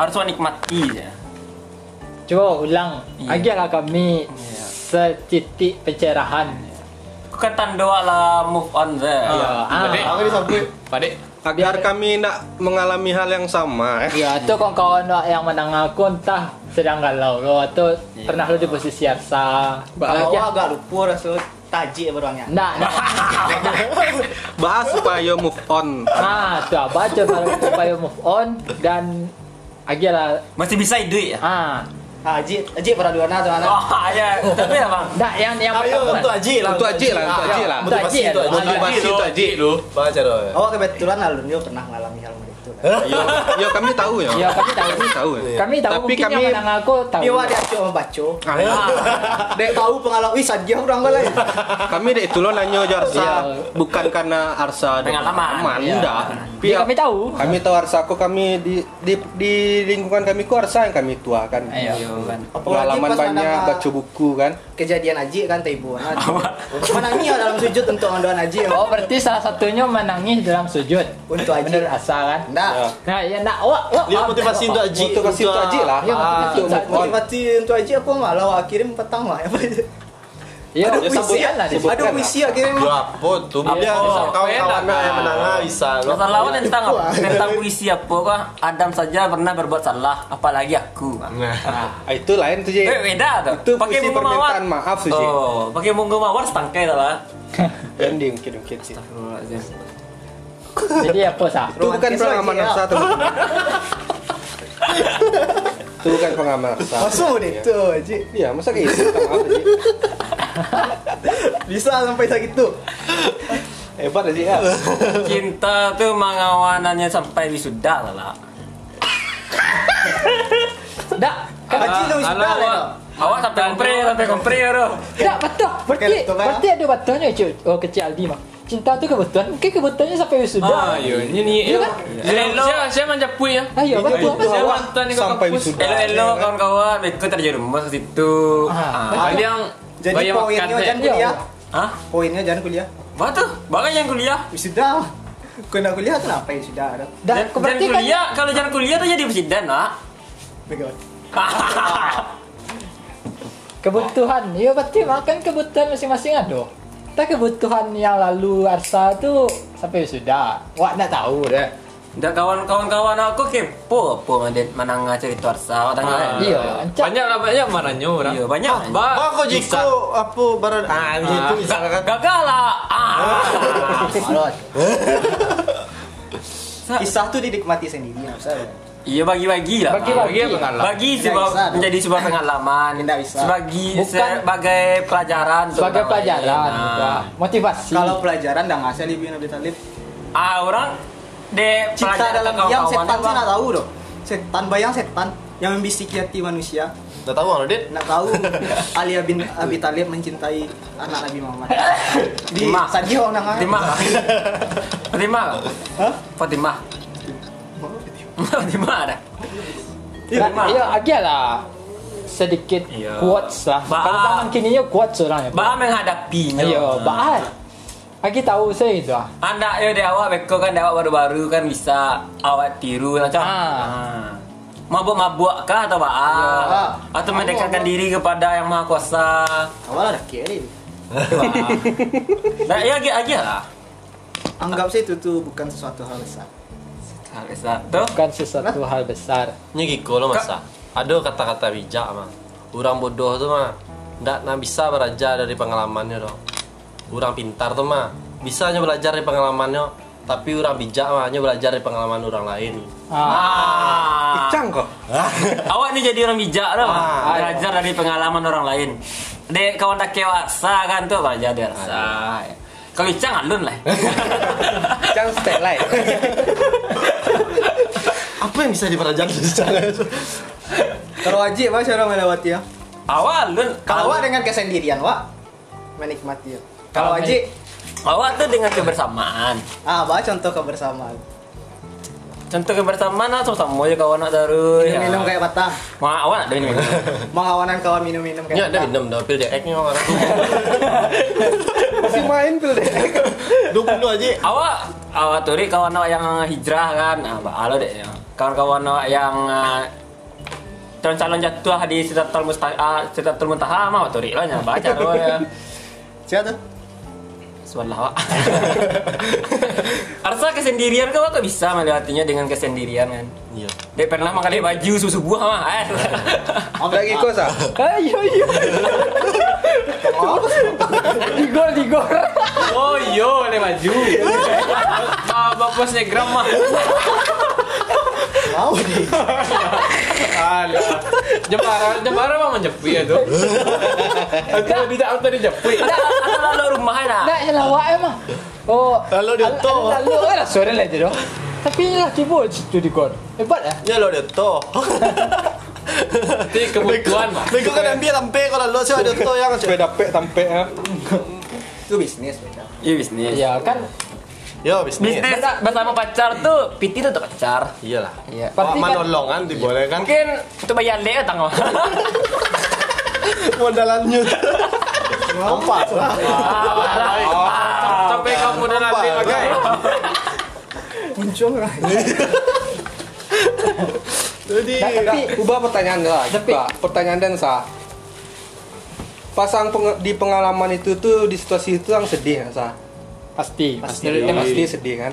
Speaker 3: Harus kau nikmati ya. je.
Speaker 2: Coba ulang.
Speaker 3: Iya.
Speaker 2: Agilah kami setitik pencerahan.
Speaker 3: Kau kan tandoa lah move on Ya. je.
Speaker 2: Ah.
Speaker 4: Padik.
Speaker 1: Aku disambut.
Speaker 4: Padik.
Speaker 5: Agar kami nak mengalami hal yang sama. eh.
Speaker 2: Ya, itu kawan-kawan awak yang mendengar aku entah sedang galau lo atau pernah lo di posisi arsa.
Speaker 1: Kalau
Speaker 2: Kalau dia-
Speaker 1: awak agak lupa rasa tajik beruangnya.
Speaker 2: Nggak, nggak.
Speaker 5: Bahas supaya move on.
Speaker 2: Ah, tuh apa aja kalau supaya move on dan agilah
Speaker 3: Masih bisa duit ya.
Speaker 2: ah,
Speaker 1: Haji, Haji pernah dua atau anak?
Speaker 3: Wah, ya. Tapi ya bang.
Speaker 2: nggak yang yang pertama.
Speaker 6: Untuk Haji lah.
Speaker 5: Untuk Haji lah, untuk Haji lah.
Speaker 2: Untuk Haji ya,
Speaker 6: Untuk
Speaker 2: untuk
Speaker 6: Haji. Untuk Haji lu. Baca dong.
Speaker 1: Awak Oh, kebetulan alun dia pernah mengalami hal kan. begitu.
Speaker 5: Yo,
Speaker 6: Iya.
Speaker 5: yo kami tahu ya.
Speaker 2: Ya, kami tahu.
Speaker 5: Kami tahu. ya.
Speaker 2: Kami tahu
Speaker 5: Tapi
Speaker 2: mungkin
Speaker 5: kami
Speaker 2: yang menang aku tahu.
Speaker 1: Tapi awak dia cuma baca.
Speaker 5: Ah,
Speaker 6: Iya.
Speaker 5: ya.
Speaker 1: Dek tahu pengalaman. Ih saja orang kau lain.
Speaker 5: kami dek itu lo nanya aja Arsa
Speaker 2: Iya.
Speaker 5: bukan karena Arsa ada
Speaker 3: Pengalaman.
Speaker 2: Iya.
Speaker 5: enggak. Tapi
Speaker 2: Jadi kami tahu.
Speaker 5: kami tahu Arsa aku kami di di, di lingkungan kami ku Arsa yang kami tua kan.
Speaker 2: Ayo.
Speaker 5: Pengalaman
Speaker 1: Apalagi pas
Speaker 5: banyak
Speaker 1: anak-
Speaker 5: baca buku kan.
Speaker 1: Kejadian Haji kan taibu. Menangi awak dalam sujud untuk mendoan Haji. ya?
Speaker 2: Oh, berarti salah satunya menangis dalam sujud.
Speaker 1: Untuk Haji.
Speaker 2: Menurut asa kan.
Speaker 1: Ndak.
Speaker 2: Nah, ya ndak wak wak.
Speaker 6: Dia
Speaker 2: wak,
Speaker 6: motivasi
Speaker 2: nggak,
Speaker 6: untuk
Speaker 2: wak.
Speaker 6: Haji.
Speaker 5: Motivasi untuk Haji lah.
Speaker 2: Ya, motivasi
Speaker 5: Ah, untuk
Speaker 2: untuk
Speaker 5: move on.
Speaker 1: Motivasi untuk Haji aku malah awak kirim petang lah. Apa itu?
Speaker 2: Iya,
Speaker 1: Ada puisi
Speaker 2: sebutkan
Speaker 1: ya?
Speaker 2: lah di situ.
Speaker 1: Ada puisi ya kirim.
Speaker 6: apa tuh biar kawan-kawan lah. yang menangah bisa lo
Speaker 3: Masalah lawan tentang apa? Tentang puisi apa kah? Adam saja pernah berbuat salah, apalagi aku.
Speaker 5: Ah, itu lain tuh Ji.
Speaker 3: Eh, beda tuh.
Speaker 5: Itu puisi permintaan maaf, Suji.
Speaker 3: Oh, pakai monggo mawar setangkai tak lah.
Speaker 5: Dan diungkit-ungkit sih.
Speaker 3: Oh,
Speaker 2: Jadi apa sah?
Speaker 5: Itu bukan
Speaker 1: Romantis
Speaker 5: pengaman
Speaker 1: lagi, ya.
Speaker 5: rasa teman-teman. Itu bukan pengaman rasa.
Speaker 1: Masuk
Speaker 2: Ya.
Speaker 1: deh
Speaker 5: Iya.
Speaker 1: tuh, Ji.
Speaker 5: Iya, masa kayak gitu? Minta maaf, Ji.
Speaker 1: Bisa sampai segitu.
Speaker 5: Hebat aja ya.
Speaker 3: Cinta tuh mengawanannya sampai wisuda tak lah.
Speaker 2: Dak, kan
Speaker 1: Haji lu
Speaker 4: alah,
Speaker 1: sudah
Speaker 4: awak.
Speaker 1: lah.
Speaker 3: Awak sampai kompre, sampai kompre bro.
Speaker 2: dak betul. Berarti
Speaker 1: laptop, ya?
Speaker 2: berarti ada batuannya cuy. Oh kecil Aldi mah. Cinta tu kebetulan. Mungkin kebetulannya sampai
Speaker 4: Ah,
Speaker 2: sudah.
Speaker 4: yo, ini ni.
Speaker 2: Iya kan?
Speaker 3: Elo,
Speaker 4: Saya saya manjapui ya.
Speaker 2: Ayo, betul.
Speaker 5: betul.
Speaker 4: Saya
Speaker 5: Awak
Speaker 4: mantan ni
Speaker 5: sampai
Speaker 4: kampus.
Speaker 5: wisuda.
Speaker 3: elo, elo kawan-kawan, ikut terjerumus ke situ.
Speaker 2: Ah.
Speaker 4: Ada yang
Speaker 1: Jadi
Speaker 4: bayar makan.
Speaker 1: poinnya jangan
Speaker 2: Iya.
Speaker 1: kuliah.
Speaker 3: Hah?
Speaker 1: Poinnya jangan kuliah. Ya
Speaker 3: Apa tuh? Bahkan kan yang kuliah.
Speaker 1: Sudah. Kau nak kuliah kenapa ya sudah ada.
Speaker 2: Dak,
Speaker 3: Jangan jangan
Speaker 2: berarti kan
Speaker 3: kuliah, kalau jangan kuliah tuh jadi presiden lah.
Speaker 1: Bagaimana?
Speaker 2: kebutuhan. Ya berarti makan kebutuhan masing-masing ada. Tak kebutuhan yang lalu arsa tu sampai sudah. Wak nak tahu deh.
Speaker 3: Dan kawan-kawan kawan aku kepo apa Madin mananga cerita arsa orang lain.
Speaker 2: Iya, ancak.
Speaker 4: Banyak lah banyak marahnya orang.
Speaker 3: Iya, banyak.
Speaker 4: Ba-
Speaker 6: Oh, kok jiko apa barat ah gitu misalkan
Speaker 3: Gagal lah. Ah.
Speaker 1: Malot. Kisah tuh dinikmati sendiri maksudnya.
Speaker 3: Iya bagi-bagi lah.
Speaker 2: Bagi-bagi.
Speaker 4: Bagi pengalaman.
Speaker 3: Bagi
Speaker 1: Tidak
Speaker 3: sebuah
Speaker 1: bisa, dong.
Speaker 3: menjadi sebuah pengalaman.
Speaker 1: Tidak bisa.
Speaker 3: Sebagai
Speaker 2: Bukan.
Speaker 3: sebagai pelajaran. untuk
Speaker 2: Sebagai
Speaker 3: orang
Speaker 2: pelajaran,
Speaker 4: Ah.
Speaker 3: lain.
Speaker 2: juga.
Speaker 3: Nah.
Speaker 2: motivasi.
Speaker 1: Kalau pelajaran dah ngasih lebih Nabi Talib.
Speaker 3: Ah orang de
Speaker 1: Cinta
Speaker 3: pelajaran
Speaker 1: dalam
Speaker 3: ke
Speaker 1: diam
Speaker 3: kawan-kawan
Speaker 1: setan
Speaker 3: tu,
Speaker 1: sih
Speaker 3: Bang.
Speaker 1: nak tahu dong. Setan bayang setan yang membisiki hati manusia.
Speaker 6: udah tahu lah, nggak dit
Speaker 1: Nak tahu Alia bin Abi Talib mencintai anak Nabi Muhammad. Di
Speaker 3: Timah.
Speaker 1: Sadio nang.
Speaker 3: Fatimah. Fatimah.
Speaker 1: Hah?
Speaker 3: Fatimah. Fatimah ada.
Speaker 1: Iya.
Speaker 2: Ya, ya agak lah sedikit
Speaker 3: Iya.
Speaker 2: quotes lah.
Speaker 3: Ba-
Speaker 2: Kalau bahang kininya quotes orang ya.
Speaker 3: Bah menghadapinya.
Speaker 1: Iya,
Speaker 2: Ayo, bahan. Aki tahu saya itu ah.
Speaker 3: Anak ya dia awak beko kan dia awak baru-baru kan bisa awak tiru
Speaker 2: Ah.
Speaker 3: macam. Ah. Mabuk-mabuk kah atau apa? Ah.
Speaker 1: Ya.
Speaker 3: Atau mendekatkan diri kepada yang maha kuasa.
Speaker 1: Awal ada kirim.
Speaker 3: Nah, ya agak agak lah.
Speaker 1: Anggap sih itu tuh bukan sesuatu hal besar.
Speaker 3: Harus satu.
Speaker 2: Bukan sesuatu hal besar.
Speaker 6: nya giko lo masa ah. ada kata-kata bijak mah orang bodoh tuh mah ndak nah bisa belajar dari pengalamannya dong orang pintar tuh mah bisa hanya belajar dari pengalamannya tapi orang bijak mah hanya belajar dari pengalaman orang lain
Speaker 2: Ah,
Speaker 3: Ah.
Speaker 5: Icang kok.
Speaker 3: Awak ni jadi orang bijak tau
Speaker 6: Ah,
Speaker 3: Belajar dari pengalaman orang lain Dek kawan tak kewa Sa kan tu Belajar dia ya. rasa Kau icang alun lah
Speaker 5: Icang stay light.
Speaker 6: apa yang bisa dipelajari dari sana itu
Speaker 1: Kalau wajib Pak cara melewati ya.
Speaker 3: Awak alun
Speaker 1: Kalau awak dengan kesendirian Wak menikmati ya. Kalau
Speaker 2: Kalau
Speaker 1: wajib
Speaker 3: Awak tu dengan kebersamaan
Speaker 1: ah bah contoh kebersamaan.
Speaker 3: Contoh kebersamaan lah Sama-sama je kawan nak daru ya.
Speaker 1: Minum kan? kayak batang.
Speaker 3: Wah, awak nak ada minum
Speaker 1: Mengawanan kawan minum-minum
Speaker 6: nya
Speaker 1: kayak
Speaker 6: ada
Speaker 1: batang.
Speaker 6: minum dah pil eh. dek nya orang
Speaker 5: Masih main pil deh.
Speaker 6: duk dulu aja
Speaker 3: Awak Awak tu dek kawan awak yang hijrah kan ah, Alo dek ya. Kawan-kawan awak yang ah, Calon-calon jatuh di Sidratul Musta- ah, Sidratul Muntaha mah awak tu dek lah yang baca tu ya.
Speaker 1: Siapa tuh?
Speaker 3: Subhanallah Wak. Arsa kesendirian kau kok bisa melewatinya dengan kesendirian kan?
Speaker 6: iya
Speaker 3: Dia pernah makan baju susu buah mah. eh.
Speaker 5: Lagi kok sa.
Speaker 2: ayo ayo. Digor digor.
Speaker 4: Oh yo, le baju. Ah, bapak snapgram mah.
Speaker 1: Mau deh.
Speaker 4: Alah. Jepara, Jepara mah menjepui ya tuh. Aku lebih tak tadi jepui.
Speaker 3: Lalu rumah dah.
Speaker 2: Nak lah, yang lawak emang. eh, Oh,
Speaker 6: Lalu dia
Speaker 2: al-
Speaker 6: tu.
Speaker 2: al- Lalu lah suara lah dia tu. Tapi lah tiba situ digor. Hebat eh.
Speaker 6: nya lo dek to
Speaker 4: Tapi kebutuhan mah.
Speaker 6: Bego kan ambil lampe kalau lo sih ada to yang
Speaker 5: Sepeda pek tampe ya.
Speaker 1: Itu bisnis beda.
Speaker 3: Iya bisnis.
Speaker 2: Ya kan
Speaker 6: yo bisnis
Speaker 3: Bisnis bersama pacar tuh piti tuh pacar.
Speaker 6: iyalah
Speaker 3: Iya.
Speaker 6: Pak
Speaker 2: Berarti kan-
Speaker 6: manolongan dibolehkan
Speaker 3: Mungkin itu bayar le tang. oh.
Speaker 6: modalannya
Speaker 1: Kompas lah.
Speaker 6: Oh.
Speaker 4: Sampai kamu udah nanti pakai.
Speaker 1: Muncung lah.
Speaker 5: Nah, tapi ubah pertanyaan lah.
Speaker 2: Tapi-
Speaker 5: Pak. pertanyaan dan sa. pasang peng- di pengalaman itu tuh di situasi itu yang sedih kan sah
Speaker 2: Pasti.
Speaker 5: pasti pasti sedih kan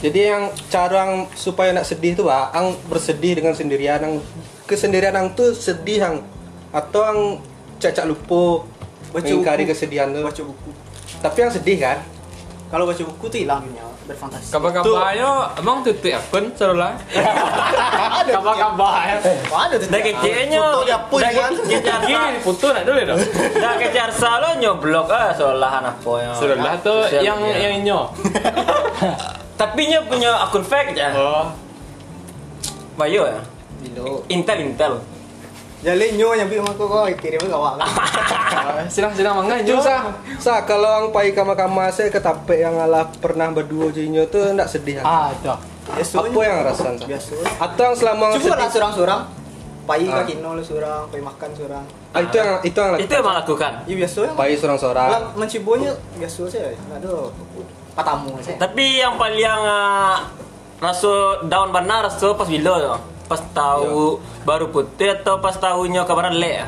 Speaker 5: jadi yang cara yang supaya nak sedih itu bah ang bersedih dengan sendirian ang kesendirian ang tuh sedih ang atau ang cacak lupa
Speaker 1: Baca
Speaker 5: mengingkari
Speaker 1: buku.
Speaker 5: kesedihan tuh
Speaker 1: baca buku
Speaker 5: tapi yang sedih kan
Speaker 1: kalau baca buku tuh hilangnya berfantasi
Speaker 4: Kabar-kabarnya emang titik akun seolah Kabar-kabar
Speaker 1: Eh,
Speaker 4: ya.
Speaker 1: waduh
Speaker 3: Dah kecilnya.
Speaker 6: Foto dia pun,
Speaker 3: dah
Speaker 6: kan?
Speaker 3: kejar
Speaker 4: Gini foto nak dulu dong.
Speaker 3: Dah kejar salo nyoblok ah seolah apa ya.
Speaker 4: Seolah tuh
Speaker 3: Sosial
Speaker 4: yang
Speaker 3: media.
Speaker 4: yang nyo.
Speaker 3: Tapi nya punya akun fake ya.
Speaker 4: Oh.
Speaker 3: Bayo ya.
Speaker 1: Bilo.
Speaker 3: Intel Intel.
Speaker 1: Jadi nyu Ya, yang bilang aku kok kirim ke awak.
Speaker 4: Silang-silang mangan nyo sah.
Speaker 5: Sa kalau ang pai kama-kama saya ketape yang alah pernah berdua jinyo tuh ndak sedih. kan?
Speaker 2: Ah, itu.
Speaker 1: Ya,
Speaker 5: Apa yang rasan? Sa?
Speaker 1: Biasa.
Speaker 5: Atau yang selama ang
Speaker 1: Ya, Coba lah
Speaker 5: sedih.
Speaker 1: surang-surang. Pai
Speaker 5: Ah.
Speaker 1: kaki nol surang, pai makan surang.
Speaker 5: Ah, itu yang itu yang
Speaker 3: Itu emang lakukan.
Speaker 1: Iya biasa ya.
Speaker 5: pai seorang-seorang.
Speaker 1: Lah mencibonya biasa ya. saya. Aduh. Patamu saya.
Speaker 3: Tapi yang paling ah, rasa down benar rasa pas bila tu. Pas tahu
Speaker 4: Iya.
Speaker 3: baru putih atau pas tahunya kabaran lek ya.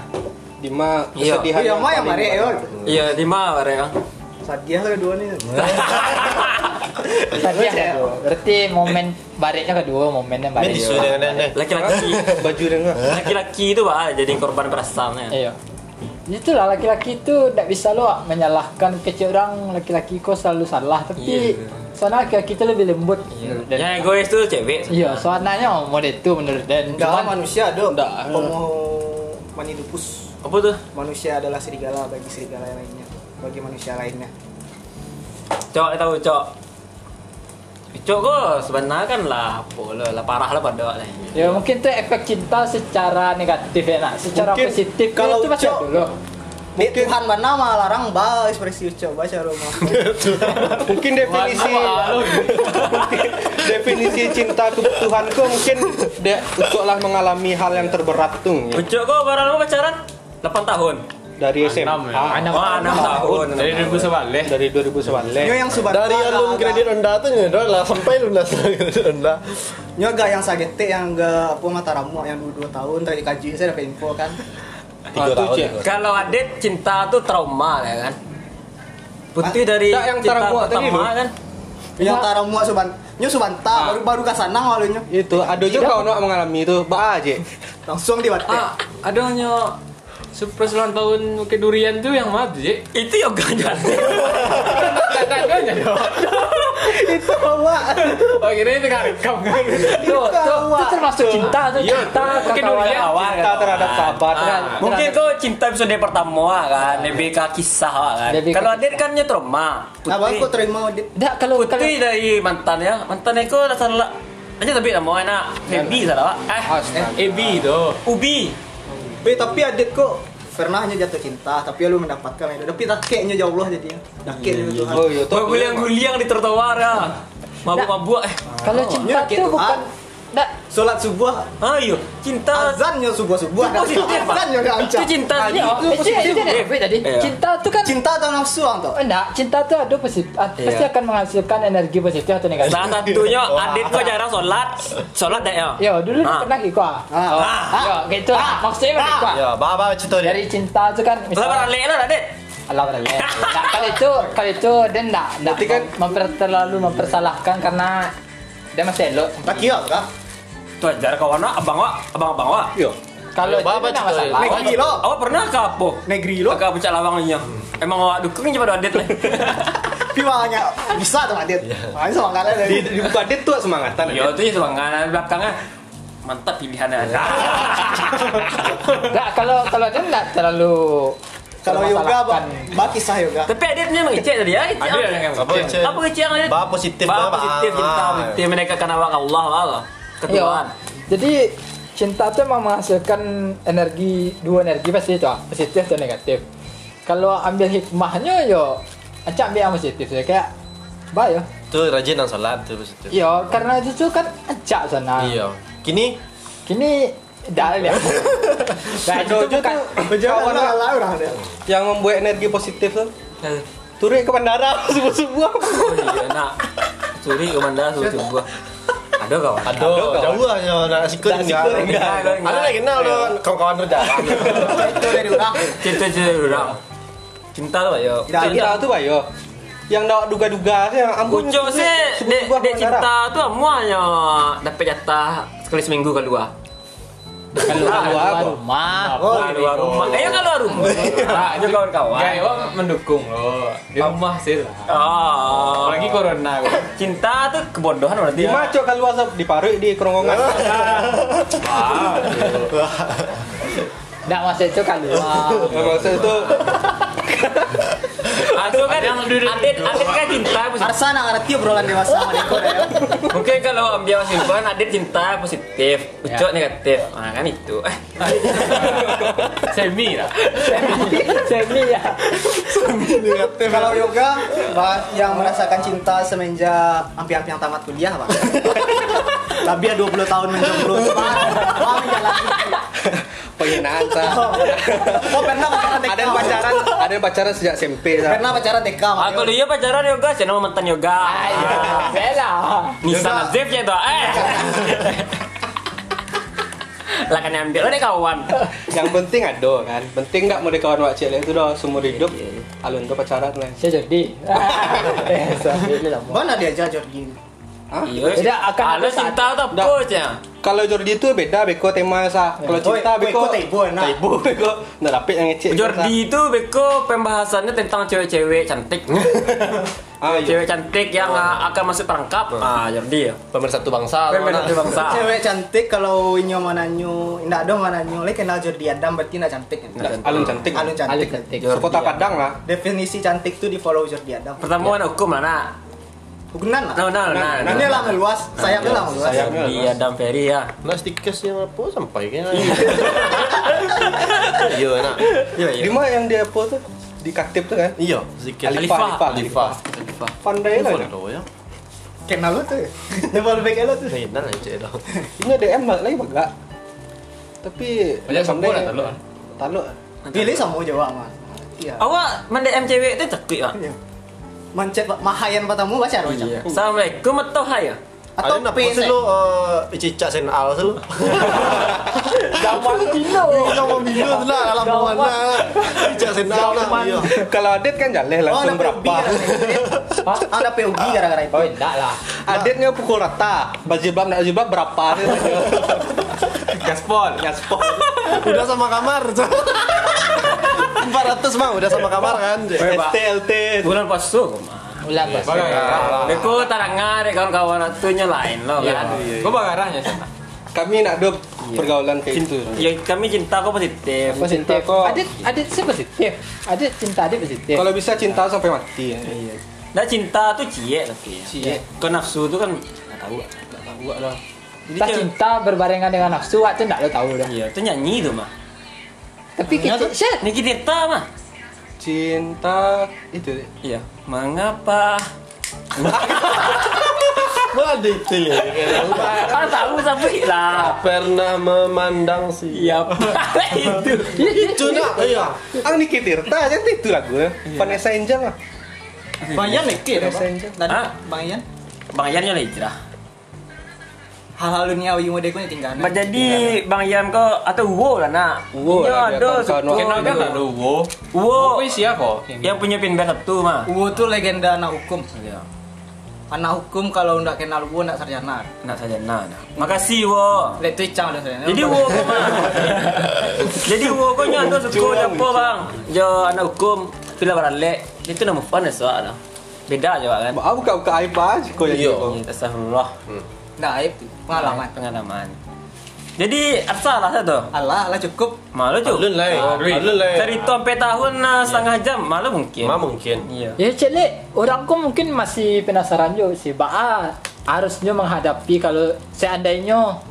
Speaker 5: Di ma
Speaker 3: Iya.
Speaker 5: kesedihan.
Speaker 1: Iya mah yang mare yo.
Speaker 3: Iya, di mana ya?
Speaker 1: Sadia lah dua ni.
Speaker 2: Tadi ada dua. Berarti momen bariknya kedua, momennya
Speaker 6: Ini
Speaker 2: barik.
Speaker 6: disuruh dengan nenek.
Speaker 3: Laki-laki
Speaker 5: Baju dengan
Speaker 3: laki-laki itu bah jadi korban perasaannya.
Speaker 2: Iya. Itulah laki-laki itu tidak bisa lo menyalahkan kecil orang laki-laki kok selalu salah tapi
Speaker 3: Iya.
Speaker 2: soalnya laki-laki itu lebih lembut.
Speaker 3: Yang
Speaker 2: Dan-
Speaker 3: egois tuh cewek.
Speaker 2: Iya, soalnya model itu menurut dan
Speaker 1: Enggak
Speaker 2: cuman
Speaker 1: manusia dong.
Speaker 2: Enggak.
Speaker 1: Homo manidupus.
Speaker 3: Apa tuh?
Speaker 1: Manusia adalah serigala bagi serigala yang lainnya. Bagi manusia lainnya.
Speaker 3: Cok, dia tahu cok. Eh, Cok kok sebenarnya kan lah, apa lah, lah parah lah pada lah.
Speaker 2: ya mungkin itu efek cinta secara negatif ya nak. Secara
Speaker 1: Mungkin
Speaker 2: positif
Speaker 1: kalau
Speaker 2: itu masih
Speaker 1: cok-
Speaker 2: ada dulu.
Speaker 1: Dia Tuhan mana mah larang bah ekspresi coba baca rumah.
Speaker 5: mungkin definisi definisi cinta ke Tuhanku mungkin dia untuklah mengalami hal yang terberat tuh ya.
Speaker 3: Eh, Cok kok baru lama pacaran? 8 tahun.
Speaker 5: dari SMA
Speaker 4: Enam ya.
Speaker 2: Anak
Speaker 3: Wah, 6
Speaker 6: Oh,
Speaker 3: tahun.
Speaker 4: Dari 2000 sebalik.
Speaker 5: dari 2011
Speaker 1: Nyo yang subat
Speaker 6: Dari alun kredit rendah tuh nyedot lah sampai lunas kredit rendah.
Speaker 1: Nyo gak yang sagete yang gak apa mataramu yang dua, dua tahun tadi kaji saya dapat info kan.
Speaker 6: Tiga tahun. tiga.
Speaker 3: Kalau adik cinta tuh trauma lah kan. Putih dari
Speaker 5: Ah, tak, yang
Speaker 3: cinta
Speaker 5: Tarabuak tadi
Speaker 3: pertama
Speaker 5: tu.
Speaker 3: kan.
Speaker 4: Ya.
Speaker 1: Yang taramu suban nyo subanta
Speaker 4: Ah.
Speaker 1: baru baru kasana walunyo
Speaker 5: itu ada juga kau nak mengalami itu ba aja
Speaker 1: langsung dibate.
Speaker 4: Ah, ada nyo surprise ulang tahun ke durian tuh yang mati je.
Speaker 3: Itu yang ganjal.
Speaker 4: Tak tak ada nya dong.
Speaker 1: Itu awak.
Speaker 4: Oh, kira itu kan rekam kan.
Speaker 2: Tuh, tuh, itu termasuk cinta tuh
Speaker 4: Iya,
Speaker 2: cinta kan.
Speaker 4: mungkin
Speaker 2: kawan
Speaker 4: dunia
Speaker 2: kawan.
Speaker 5: cinta terhadap sahabat
Speaker 3: ya. Ah, mungkin kau cinta episode pertama lah kan, lebih ke kisah lah kan.
Speaker 2: Lebih ke
Speaker 3: Kalau adik kan nya trauma.
Speaker 2: Nah,
Speaker 1: Abang
Speaker 3: Putih.
Speaker 1: aku terima audit.
Speaker 2: Enggak kalau kalau
Speaker 3: Putih dari mantan ya. Mantan aku rasa lah. Aja tapi nama enak.
Speaker 2: Nah,
Speaker 3: Baby salah. Eh,
Speaker 4: AB tu.
Speaker 3: Ubi.
Speaker 1: Be, Eh, tapi adik kok pernah hanya jatuh cinta tapi lu mendapatkan itu tapi takeknya ya Allah jadinya takeknya itu Tuhan
Speaker 5: oh iya tuh
Speaker 3: Tuh guliang-guliang di tertawa ya.
Speaker 2: Nah.
Speaker 3: Mabuk-mabuk eh.
Speaker 2: kalau cinta
Speaker 1: Iya, gitu,
Speaker 2: tuh bukan enggak
Speaker 1: sholat subuh
Speaker 3: Ayo, Ah, iya. cinta
Speaker 1: azannya subuh subuh
Speaker 3: Itu positif, Pak.
Speaker 1: azannya udah
Speaker 3: Eh, itu
Speaker 1: ancam Ah, gitu.
Speaker 3: cinta
Speaker 2: Iya,
Speaker 1: oh,
Speaker 3: itu
Speaker 2: itu itu
Speaker 3: positif.
Speaker 2: kan tadi.
Speaker 3: Iya.
Speaker 2: Cinta tuh kan
Speaker 1: cinta atau nafsu orang tau
Speaker 2: enggak, cinta tuh ada positif pasti akan menghasilkan energi positif atau negatif.
Speaker 3: Salah satunya adik kau jarang sholat, sholat deh ya.
Speaker 2: Ya, dulu
Speaker 3: Ah.
Speaker 2: pernah gitu ah.
Speaker 1: Ah.
Speaker 2: Oh, Ya, gitu lah. Maksudnya begitu ah.
Speaker 6: Ya, baba cerita dia.
Speaker 2: Dari cinta itu kan
Speaker 3: Lah
Speaker 2: misalnya
Speaker 3: beralih lah adik.
Speaker 2: Allah beralih. Nah, kalau itu kalau itu dia enggak enggak
Speaker 5: Berarti kan-
Speaker 2: memper, terlalu mempersalahkan karena dia masih elok.
Speaker 1: tak kira kah
Speaker 3: Tuh ajar kawan nak abang wak, abang abang wak.
Speaker 5: iya
Speaker 2: Kalau itu
Speaker 6: Apa
Speaker 2: enggak
Speaker 6: cerita dia?
Speaker 2: masalah.
Speaker 1: negeri lo
Speaker 3: Awak pernah ke apa?
Speaker 1: negeri lo
Speaker 3: Ke pucat lawangnya. Emang awak dukung cuma adik lah.
Speaker 1: piwanya bisa tuh adit main sama kalian
Speaker 5: di,
Speaker 1: dari
Speaker 5: di buka dia tuh semangatan
Speaker 3: Yo itu ya semangat belakangnya. Mantap ya. pilihannya.
Speaker 2: Enggak kalau kalau dia enggak terlalu
Speaker 1: kalau yoga bang
Speaker 2: mempermasalahkan.
Speaker 1: bak kisah yoga
Speaker 3: Tapi adiknya memang kecil tadi ya. kecil.
Speaker 4: Ada yang
Speaker 6: Apa kecil?
Speaker 3: Apa kecil adit?
Speaker 6: Bah positif
Speaker 3: Bah
Speaker 6: bah.
Speaker 3: positif cinta
Speaker 6: Ah.
Speaker 3: positif mereka karena awak Allah Allah.
Speaker 2: Iya.
Speaker 5: kan?
Speaker 3: Ketuaan.
Speaker 2: Jadi cinta tuh emang menghasilkan energi dua energi pasti itu ah, positif dan negatif. Kalau ambil hikmahnya yo acak ambil yang positif ya kayak bayo.
Speaker 6: Tuh rajin nang salat tuh positif.
Speaker 2: Yo karena itu tuh kan acak sana.
Speaker 6: Iya. Kini
Speaker 2: Kini dah ya. Dah itu
Speaker 5: Dojo
Speaker 2: bukan
Speaker 5: Kawan
Speaker 1: Kawan
Speaker 5: nak-
Speaker 1: lah orang ada.
Speaker 5: yang membuat energi positif tuh
Speaker 3: Eh,
Speaker 5: turun ke bandara subuh-subuh
Speaker 3: Oh iya nak. Curi ke mandala suruh gua. Ada kawan.
Speaker 6: aduh, jauh aja nak sikut enggak.
Speaker 3: enggak, enggak.
Speaker 6: Ada lagi kenal tu, kawan-kawan rendah.
Speaker 1: Itu dari orang.
Speaker 3: Cinta cinta orang. cinta tuh ya.
Speaker 1: Tidak,
Speaker 5: Cinta
Speaker 1: tidak.
Speaker 5: tuh bayo. Yang ndak duga-duga sih yang ampun.
Speaker 3: Ucok sih,
Speaker 5: sebelum
Speaker 3: dek
Speaker 5: gua
Speaker 3: dek
Speaker 5: wawancara.
Speaker 3: cinta tuh amuanya dapat jatah sekali seminggu kalau dua.
Speaker 2: Keluar
Speaker 5: Keluar Nah, apa?
Speaker 2: rumah.
Speaker 3: Kalau dua rumah. Eh, kalau rumah. Ah, itu
Speaker 4: Gak,
Speaker 3: kawan-kawan.
Speaker 4: Iwa Iya. mendukung loh. Di rumah sih lah.
Speaker 3: Oh.
Speaker 4: Apalagi corona gua.
Speaker 3: cinta tuh kebodohan berarti.
Speaker 5: Di
Speaker 3: ya.
Speaker 5: macok keluar sab- di paruk di kerongkongan.
Speaker 2: Nggak masa itu kan keluar.
Speaker 5: Nah, Maksud itu
Speaker 3: Aduh kan, Adit, Adit kan cinta positif.
Speaker 1: Arsa nak ngerti obrolan dewasa sama Niko dah, ya.
Speaker 3: Mungkin kalau dia masih simpan, Adit cinta positif,
Speaker 4: Ya.
Speaker 3: Ucok negatif. Nah kan itu. Eh,
Speaker 4: Semi lah.
Speaker 2: Semi ya.
Speaker 1: Kalau yoga, Bang, yang merasakan cinta semenjak hampir-hampir tamat kuliah, Pak. Lebih 20 ya tahun menjomblo, Pak. Pak menjalani.
Speaker 5: penghinaan sah.
Speaker 1: Oh, pernah pacaran TK.
Speaker 5: Ada yang pacaran, ada yang pacaran sejak SMP sah.
Speaker 1: Pernah pacaran TK, Pak.
Speaker 3: aku dia pacaran yoga, saya nama mantan yoga.
Speaker 4: Ah, iya.
Speaker 3: Ah.
Speaker 2: Bela.
Speaker 3: Nisa Nazif ya tuh. Eh. Lah kan ambil ini kawan.
Speaker 5: Yang penting ada kan. Penting ndak mau dikawan wak cilik itu doh seumur hidup.
Speaker 1: Iya,
Speaker 5: Alun tuh pacaran lah.
Speaker 2: Saya jadi. Eh, sambil ini lah.
Speaker 1: Mana dia aja Jorgin?
Speaker 5: Hah?
Speaker 3: Iya.
Speaker 2: Tidak, akan
Speaker 3: Kalau
Speaker 2: ada saat-
Speaker 3: cinta tuh
Speaker 5: Tidak.
Speaker 3: bos ya.
Speaker 5: Kalau Jordi itu beda beko tema sah.
Speaker 1: Iya.
Speaker 5: Kalau cinta beko
Speaker 1: Taibo enak.
Speaker 5: Taibo beko ndak dapet yang ngecek.
Speaker 3: Jordi itu beko pembahasannya tentang cewek-cewek cantik.
Speaker 5: Ah, iya.
Speaker 3: Cewek cantik yang uh, akan masuk perangkap. Ah, Jordi ya.
Speaker 6: Pemersatu bangsa.
Speaker 3: Pemersatu bangsa.
Speaker 1: Cewek cantik kalau inyo mananyu, indah dong mananyu, lek kenal Jordi Adam berarti nak cantik. kan?
Speaker 5: Alun cantik.
Speaker 1: Alun
Speaker 2: Alih
Speaker 1: cantik.
Speaker 2: ketik.
Speaker 5: Sekota Padang lah.
Speaker 1: Definisi cantik tuh di follow Jordi Adam.
Speaker 3: Pertemuan hukum lah nak.
Speaker 1: Hukuman lah.
Speaker 3: Nah, nah, nah. nah.
Speaker 1: Ini lah meluas, sayapnya lah meluas.
Speaker 5: sayap.
Speaker 3: Jordi Adam Ferry ya.
Speaker 6: Nah, stikers yang apa sampai kayaknya. Iya, nak.
Speaker 5: Di mana yang dia apa tuh? Di Kaktip tuh kan?
Speaker 6: Iya, zikir.
Speaker 5: Alifah, Alifah,
Speaker 6: Alifah.
Speaker 5: Pandai lah. dia.
Speaker 6: Alifah. ya.
Speaker 1: Kenal lo tuh. Level back lo tuh.
Speaker 6: Nah, enak lah, cek dah.
Speaker 5: Ini DM balik lagi bagak. Tapi
Speaker 4: Banyak sempur lah
Speaker 5: taluk.
Speaker 4: telur.
Speaker 5: Taluk.
Speaker 1: Pilih sama Jawa mah. Iya.
Speaker 3: Awak mendem cewek itu cekik pak.
Speaker 1: Iya. Mancet Pak. mahayan patamu baca roh.
Speaker 3: Iya. Assalamualaikum atau hai ya.
Speaker 1: Atau
Speaker 6: Ada nak
Speaker 1: P, E?
Speaker 6: pose
Speaker 1: Cek.
Speaker 6: nah, lu eh, cicak sen al selu.
Speaker 2: Zaman Cino.
Speaker 6: Jangan bilu tu lah dalam
Speaker 2: Zaman.
Speaker 6: mana. Cicak sen al lah.
Speaker 2: Zaman.
Speaker 6: iya.
Speaker 5: Kalau Adit kan jaleh
Speaker 1: Oh, ada
Speaker 5: langsung
Speaker 1: PUBG
Speaker 5: berapa?
Speaker 1: gara-gara itu. Ada PUBG gara-gara itu.
Speaker 2: Oh, enggak lah.
Speaker 5: Aditnya pukul rata. Bajibab nak bajibab berapa?
Speaker 4: Gaspol.
Speaker 5: Gaspol.
Speaker 6: Udah sama kamar. 400 mah udah sama kamar kan. Cik.
Speaker 5: Eh, STLT.
Speaker 3: Bulan pasu.
Speaker 2: Ulang pas.
Speaker 5: lah.
Speaker 3: Beko taranga deh kawan-kawan atunya lain loh kan.
Speaker 4: Gua bagarahnya sana.
Speaker 5: Kami nak ada pergaulan kayak gitu.
Speaker 3: Ya kami cinta kok positif.
Speaker 2: Positif.
Speaker 5: kok.
Speaker 2: Adit, adit sih positif. Adit cinta adit positif.
Speaker 5: Kalau bisa cinta sampai mati.
Speaker 3: Nah cinta tuh cie tapi. Cie. Kau nafsu tuh kan nggak tahu.
Speaker 2: Entah cinta berbarengan dengan nafsu, itu enggak lo tahu dah.
Speaker 3: Iya, itu nyanyi tuh mah.
Speaker 2: Tapi kita, shit.
Speaker 3: Niki Tirta mah.
Speaker 5: Cinta itu.
Speaker 3: Iya. Mengapa?
Speaker 6: Wah, detail ya.
Speaker 3: Ah tahu tapi lah.
Speaker 6: Pernah memandang sih.
Speaker 3: Iya. apa Itu.
Speaker 6: Itu nak. Iya.
Speaker 5: Ang Niki Tirta aja itu lagu. Vanessa Angel lah.
Speaker 1: Bang Ian lagi ya,
Speaker 5: Biasa aja.
Speaker 1: Tadi
Speaker 3: Hah?
Speaker 1: Bang Ian
Speaker 3: Bang Yan nyala hijrah.
Speaker 1: hal-hal duniawi mode ku tinggal.
Speaker 3: Ba, jadi Bang Yan kok atau Uwo lah nak.
Speaker 5: Uwo
Speaker 3: Iya,
Speaker 5: lah, dia
Speaker 3: aduh, suka.
Speaker 5: kawan-kawan Ya, Kenal
Speaker 4: Kenal
Speaker 5: kan
Speaker 4: kan ada Uwo.
Speaker 3: Uwo
Speaker 4: Uwo isi kok.
Speaker 3: yang punya pinband satu mah.
Speaker 1: Uwo tuh legenda anak hukum.
Speaker 3: Iya.
Speaker 1: Anak hukum kalau ndak kenal Uwo ndak sarjana.
Speaker 3: Nak saja nah. nah. Makasih Uwo.
Speaker 1: Lek tuh icang dah sarjana.
Speaker 3: Jadi wo kau mah. Jadi wo kau nyanyi tu suku apa bang? Jo anak hukum pila barale. Itu nama fun ya soal lah. Beda je Wak, kan.
Speaker 5: Maaf buka-buka aib aja kok ya gitu.
Speaker 6: Iya.
Speaker 5: yang
Speaker 3: Astagfirullah.
Speaker 1: ndak aib tuh. pengalaman.
Speaker 3: Pengalaman. Jadi asal lah tu.
Speaker 1: Allah lah cukup.
Speaker 3: Malu tu.
Speaker 6: Alun lah.
Speaker 5: Ah,
Speaker 6: Alun lah.
Speaker 3: Cerita sampai tahun ah, setengah jam malu mungkin.
Speaker 6: Mah mungkin.
Speaker 3: Iya.
Speaker 2: Ya celik, orang kok mungkin masih penasaran juga sih. Ba'a harusnya menghadapi kalau seandainya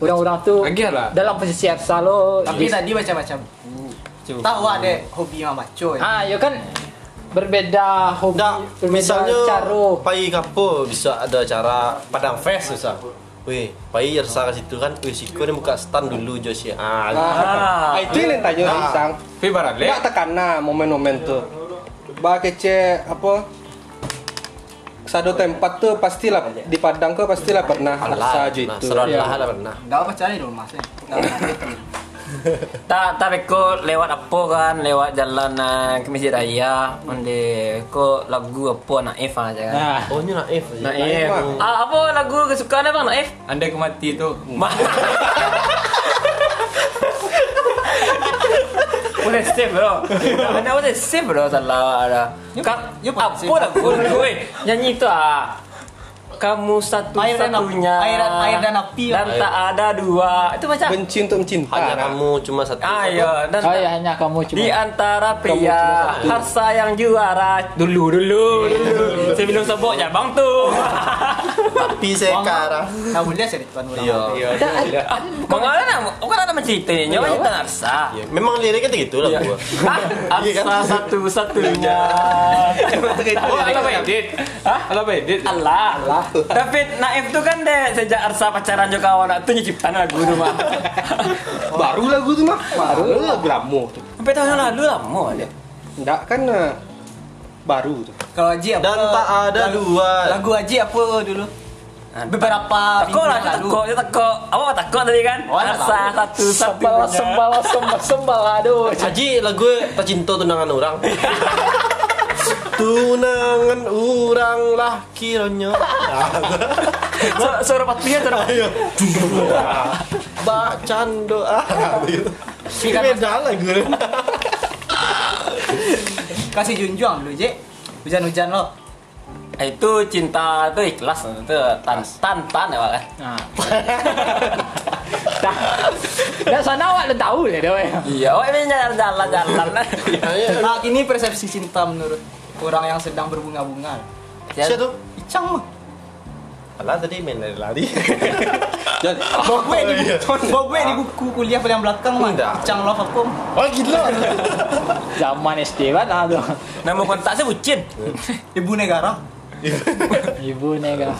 Speaker 2: orang-orang tuh
Speaker 4: Lagi lah.
Speaker 2: dalam posisi Ersa lo.
Speaker 1: Tapi
Speaker 2: Jadi-
Speaker 1: tadi macam-macam.
Speaker 3: Cukup.
Speaker 1: Tahu ada hobi mama coy.
Speaker 2: ah, ya kan berbeda hobi,
Speaker 6: Nggak,
Speaker 2: berbeda
Speaker 6: misalnya
Speaker 2: cara.
Speaker 6: pagi kapo bisa ada acara Padang Fest susah. Wih, pagi Yersa ke situ kan, wih Siko dia buka stand dulu Jo sih. Ah,
Speaker 3: Nah,
Speaker 5: Ah, itu yang tanya
Speaker 6: Ah.
Speaker 5: Isang.
Speaker 4: Tapi barale.
Speaker 5: Enggak tekana nah, momen-momen tuh. Bah kece apa? Satu tempat tuh pastilah di Padang kok pastilah pernah gitu.
Speaker 6: lah,
Speaker 5: laksa aja
Speaker 6: nah,
Speaker 5: itu.
Speaker 6: seron lah lah pernah.
Speaker 1: Enggak apa cari dong mas. Enggak
Speaker 3: tak tapi kok lewat apa kan lewat jalan eh, ke Masjid Raya onde kok lagu apa Naif aja kan
Speaker 2: Nah,
Speaker 6: Oh, ini naif aja.
Speaker 3: Naif ah, apa lagu kesukaan abang Naif
Speaker 4: Anda kemati itu.
Speaker 3: Ma- boleh save bro Anda boleh save bro salah ada Ka- apa lagu Weh, nyanyi itu ah kamu satu
Speaker 1: Air dan api.
Speaker 3: satunya
Speaker 1: Air dan- air dan api, lah.
Speaker 3: dan
Speaker 1: apa?
Speaker 3: tak ada dua itu macam
Speaker 5: benci untuk mencinta nah.
Speaker 6: Hanya kamu cuma satu.
Speaker 3: ayo dan
Speaker 2: oh ya hanya kamu
Speaker 3: Di
Speaker 2: cuma
Speaker 3: antara pria Harsa yang juara Dulu dulu dulu Sebelum sebut ya bang tu
Speaker 1: Tapi sekarang. Nah, boleh sih tuan orang.
Speaker 6: Iya.
Speaker 3: Kau ada nak Kau Oh, kan ada menceritanya Kau cerita Harsa
Speaker 6: Iya, Memang liriknya gitu lah gua.
Speaker 3: Hah? Harsa satu-satunya
Speaker 4: Oh, ala edit. Hah? Ala edit.
Speaker 3: Allah Allah David Naif tu kan deh Sejak Arsa pacaran juga kawan Nak tu nyicipkan lagu tu mah
Speaker 5: baru lagu tuh mah baru lagu lama tuh
Speaker 3: Sampai tahun yang lalu lah Mau ada
Speaker 5: enggak kan eh, baru tuh
Speaker 1: Kalau Haji apa?
Speaker 6: Eh, Dan tak ada
Speaker 1: lagu-
Speaker 6: dua.
Speaker 1: Lagu Haji apa dulu? Beberapa
Speaker 3: Takut lah Dia takut Dia takut Apa kau takut tadi kan
Speaker 1: Oh, tak
Speaker 3: Arsa
Speaker 2: sembala
Speaker 3: satu-satunya
Speaker 2: sembala sembala sembala aduh.
Speaker 6: Haji lagu tak cinta tunangan orang. tunangan orang lah kiranya.
Speaker 3: Su- Suara patria tu
Speaker 6: Bacan doa gitu. Beda lagu.
Speaker 1: Kasih junjuang dulu, Jek. Hujan-hujan lo.
Speaker 3: itu cinta itu ikhlas itu tan tan tan ya Pak, kan
Speaker 2: Dan sana awak dah tahu lah dia. weh.
Speaker 3: iya oh ini jalan jalan jalan
Speaker 6: Iya. Eh.
Speaker 1: Nah, ini persepsi cinta menurut orang yang sedang berbunga-bunga.
Speaker 6: Siapa tuh?
Speaker 1: Icang mah.
Speaker 6: Alah tadi main lari-lari.
Speaker 1: Bawa
Speaker 6: oh,
Speaker 1: gue di buku, bawa gue di buku kuliah paling belakang mah.
Speaker 6: Tidak.
Speaker 1: Icang love aku.
Speaker 6: oh gila.
Speaker 2: Zaman SD kan aduh.
Speaker 3: nama kontak saya bucin
Speaker 1: Ibu negara.
Speaker 2: Ibu kan, negara.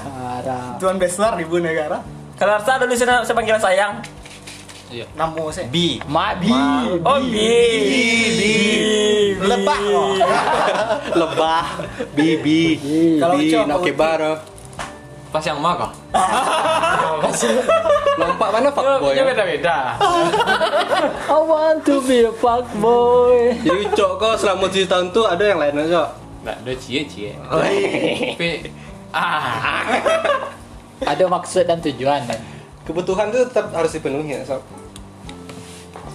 Speaker 1: Tuan Beslar ibu negara.
Speaker 3: kalau Arsa dulu saya, saya panggil sayang
Speaker 1: Namo saya.
Speaker 6: B.
Speaker 2: Mabi.
Speaker 3: oh bi bi
Speaker 1: Lebah. lo.
Speaker 5: lebah bibi
Speaker 1: Kalau
Speaker 5: bibi
Speaker 1: Ucok,
Speaker 5: oke
Speaker 1: kalau
Speaker 5: baro
Speaker 4: Pas yang mah kok.
Speaker 5: lompat mana ya? pak boy
Speaker 4: Punya beda-beda.
Speaker 2: I want to be a fuck boy.
Speaker 5: jadi cok kok selama tujuh tahun tuh ada yang lain aja
Speaker 4: Enggak ada cie-cie.
Speaker 3: iya.
Speaker 4: Tapi ah,
Speaker 2: Ada maksud dan tujuan kan.
Speaker 5: kebutuhan tuh tetap harus dipenuhi ya sob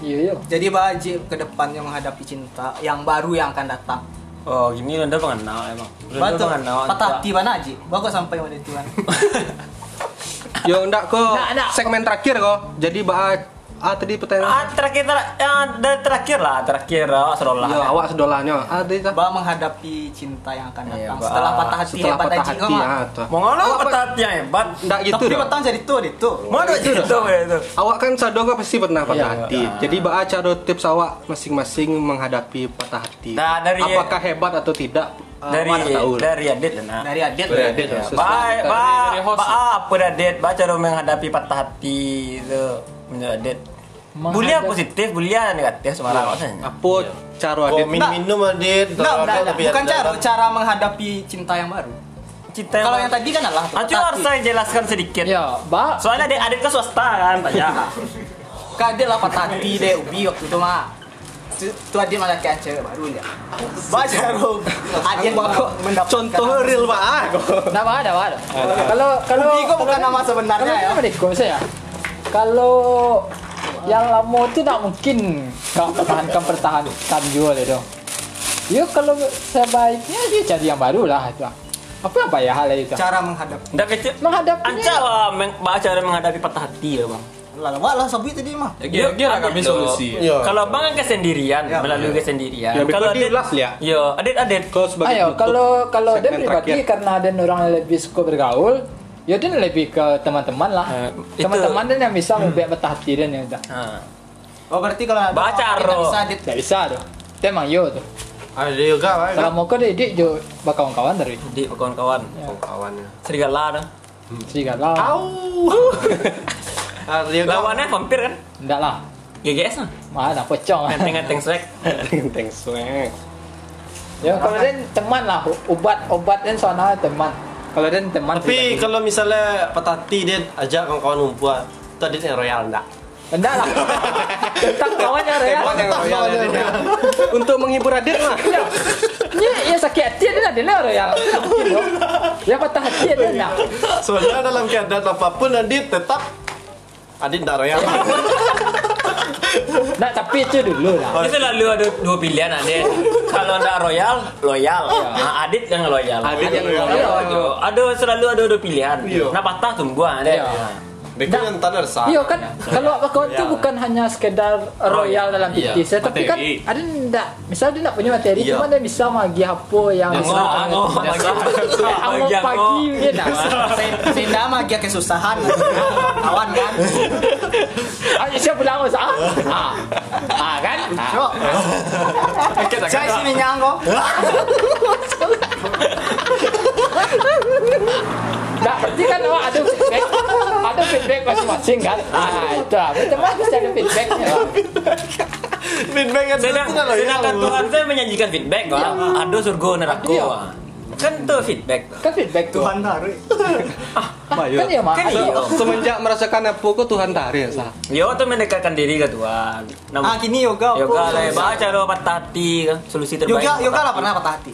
Speaker 2: Iya, iya.
Speaker 1: Jadi Pak Haji ke depan yang menghadapi cinta yang baru yang akan datang.
Speaker 3: oh gini rendah pengenal emang rendah
Speaker 1: Betul.
Speaker 3: pengenal
Speaker 1: Patah hati mana Haji? Bagus sampai pada Tuhan.
Speaker 5: yo ndak kok
Speaker 2: Ndak, ndak.
Speaker 5: segmen terakhir kok jadi bah ah tadi pertanyaan
Speaker 3: ah terakhir ter- ah, dari terakhir lah terakhir awak serolah
Speaker 5: Yo, awak sedolanya ah tadi tak
Speaker 1: Bah menghadapi cinta yang
Speaker 3: Iya,
Speaker 1: akan datang
Speaker 3: Pak.
Speaker 1: setelah patah hati
Speaker 5: setelah
Speaker 1: hebat
Speaker 5: patah
Speaker 1: Haji
Speaker 5: hati
Speaker 1: kau mah.
Speaker 5: ah tuh.
Speaker 3: mau ngono patah hati yang hebat Gitu,
Speaker 5: ndak gitu
Speaker 1: Tapi
Speaker 5: dong.
Speaker 1: petang jadi tuh, di tuh.
Speaker 3: mau ada itu itu
Speaker 5: Awak kan sadar kok pasti pernah patah
Speaker 2: Iya.
Speaker 5: hati. Jadi Mbak A, cara tips awak masing-masing menghadapi patah hati.
Speaker 3: Nah, dari-
Speaker 5: apakah hebat atau tidak? eh,
Speaker 3: dari
Speaker 5: awak tak tahu. lah.
Speaker 3: dari adit lah nak
Speaker 1: Dari Adit.
Speaker 5: Dari
Speaker 1: ya.
Speaker 5: Adit, ya.
Speaker 3: Baik,
Speaker 5: Dari-
Speaker 4: dari
Speaker 3: baik.
Speaker 4: host.
Speaker 3: Baik, apa dah date? Baca cara menghadapi patah hati itu. Menurut date. Bulia
Speaker 2: Menghadap-
Speaker 3: positif, bulia negatif semarang maksudnya.
Speaker 5: Apa cara
Speaker 6: Oh,
Speaker 5: Adit?
Speaker 6: minum-minum adit.
Speaker 1: Nggak,
Speaker 6: Tolong,
Speaker 1: nggak, nggak.
Speaker 6: tapi
Speaker 1: bukan
Speaker 6: ada-
Speaker 1: cara cara menghadapi cinta yang baru.
Speaker 3: Cinta
Speaker 1: Kalau yang tadi kan adalah tuh,
Speaker 3: Aku
Speaker 1: patah
Speaker 3: harus
Speaker 1: hati.
Speaker 3: saya jelaskan sedikit.
Speaker 2: Ya, ba.
Speaker 3: Soalnya adik adik ke swasta kan, Pak Ya.
Speaker 1: Kan dia lah patah hati deh Ubi waktu itu mah. Tu- Tu Adit malah kayak cewek baru ya. Baca Rob. Adit baru mendapat
Speaker 5: Contoh real Mbak A. kok.
Speaker 2: Dah ba, dah ba. dah. Kalau kalau
Speaker 1: Ubi kok bukan nama sebenarnya ya.
Speaker 2: Kenapa dikau saya? Kalau yang lama tu tak mungkin kau pertahankan pertahankan juga lah tu. Ya kalau sebaiknya dia cari yang baru lah tu. Apa yang payah hal itu?
Speaker 1: Cara menghadapi.
Speaker 3: Dah kecil. Anca
Speaker 2: Menghadapinya
Speaker 3: lah meng- baca cara menghadapi patah hati ya, Bang.
Speaker 1: Lah wah lah sabi tadi mah.
Speaker 4: kira kira kami solusi.
Speaker 5: Yo.
Speaker 3: Kalau bang kan kesendirian,
Speaker 1: Ya,
Speaker 3: melalui kesendirian.
Speaker 5: Ya,
Speaker 3: Kalau
Speaker 5: dia
Speaker 3: adit,
Speaker 5: ulas ya.
Speaker 3: yo, adit adit.
Speaker 5: Kau sebagai
Speaker 2: Ayo,
Speaker 5: penutup.
Speaker 2: kalau kalau dia
Speaker 5: segmen
Speaker 2: pribadi
Speaker 5: terakhir.
Speaker 2: karena ada orang yang lebih suka bergaul, ya dia lebih ke teman-teman lah.
Speaker 3: Eh, itu-
Speaker 2: Teman-teman dia yang bisa membuat betah hati ya, dia ni dah.
Speaker 3: Ha.
Speaker 1: Oh berarti kalau ada
Speaker 3: Baca,
Speaker 1: orang yang tak
Speaker 3: Rob.
Speaker 1: bisa Adit.
Speaker 2: Tak bisa tu. Dia memang yo tu.
Speaker 6: Ada juga Pak.
Speaker 2: Kalau mau kau dia dia jo bakal kawan dari
Speaker 3: Adik kawan-kawan.
Speaker 6: Oh, kawannya. Oh.
Speaker 3: Serigala dah.
Speaker 2: serigala.
Speaker 6: Ada juga.
Speaker 3: Lawannya vampir kan?
Speaker 2: Enggak lah.
Speaker 3: GGS lah.
Speaker 2: Mana pocong.
Speaker 3: Ganteng-ganteng swag.
Speaker 5: Genteng sweng.
Speaker 2: Ya kalau dan teman lah obat obat dan sana teman. Kalau dan teman
Speaker 6: Tapi
Speaker 2: pribadi.
Speaker 6: kalau misalnya patah hati dia ajak kawan-kawan perempuan, itu adit yang royal enggak?
Speaker 2: Enggak lah. Tentang kawannya ya.
Speaker 5: Tembak yang royal ya, Dede. Untuk menghibur Adit mah.
Speaker 2: Ini ya sakit hati dia dengar ya. Ya patah hati dia nak.
Speaker 6: Soalnya dalam keadaan apapun Adit tetap Adit tidak raya.
Speaker 2: Nak tapi itu dulu lah.
Speaker 3: Itu lalu ada dua pilihan Adit. Kalau anda royal, loyal. Nah, Adit yang loyal.
Speaker 4: Adit yang
Speaker 3: Iya, Jo. Ada selalu ada dua pilihan. Nah patah tunggu Adit.
Speaker 2: Iya.
Speaker 6: Deku yang tak resah.
Speaker 2: Iya kan kalau apa kau itu bukan hanya sekedar royal dalam
Speaker 7: Iya,
Speaker 2: titis Oh, ya, tapi kan
Speaker 4: materi.
Speaker 2: ada ndak misal dia ndak punya materi
Speaker 7: Iya.
Speaker 2: cuma dia bisa magi apa yang
Speaker 3: Ngok, ngok, lagi.
Speaker 2: Angok
Speaker 3: Lagi
Speaker 2: pagi
Speaker 3: ngok.
Speaker 2: dia dah.
Speaker 1: Senda mah dia kesusahan. Kawan kan.
Speaker 2: Ah siapa bilang ah? Ah. Ah kan? Ah.
Speaker 1: Cok. Saya sini nyangko.
Speaker 2: Tak, berarti kan awak ada feedback Ada feedback masing-masing kan Ah, itu lah Macam mana mesti ada feedbacknya lah
Speaker 6: Feedback yang
Speaker 3: Sedang-
Speaker 6: tidak loyal.
Speaker 3: Sedangkan Tuhan saya menyajikan feedback.
Speaker 2: Iya.
Speaker 3: Wah. Ada surga neraka.
Speaker 2: Iya.
Speaker 3: wah. Kan itu feedback.
Speaker 2: Kan feedback tu
Speaker 1: Tuhan baru.
Speaker 2: Ah, Kan ya mak
Speaker 3: Kan iya.
Speaker 5: Oh. Semenjak merasakan apa kok Tuhan tarik ya, sah.
Speaker 3: Yo tuh Iya, mendekatkan diri ke Tuhan.
Speaker 1: Ah
Speaker 3: Namun
Speaker 1: kini yoga. apa?
Speaker 3: yoga lah, baca cara patah hati kan solusi terbaik.
Speaker 1: Yoga yoga
Speaker 3: patah
Speaker 1: lah pernah patah hati.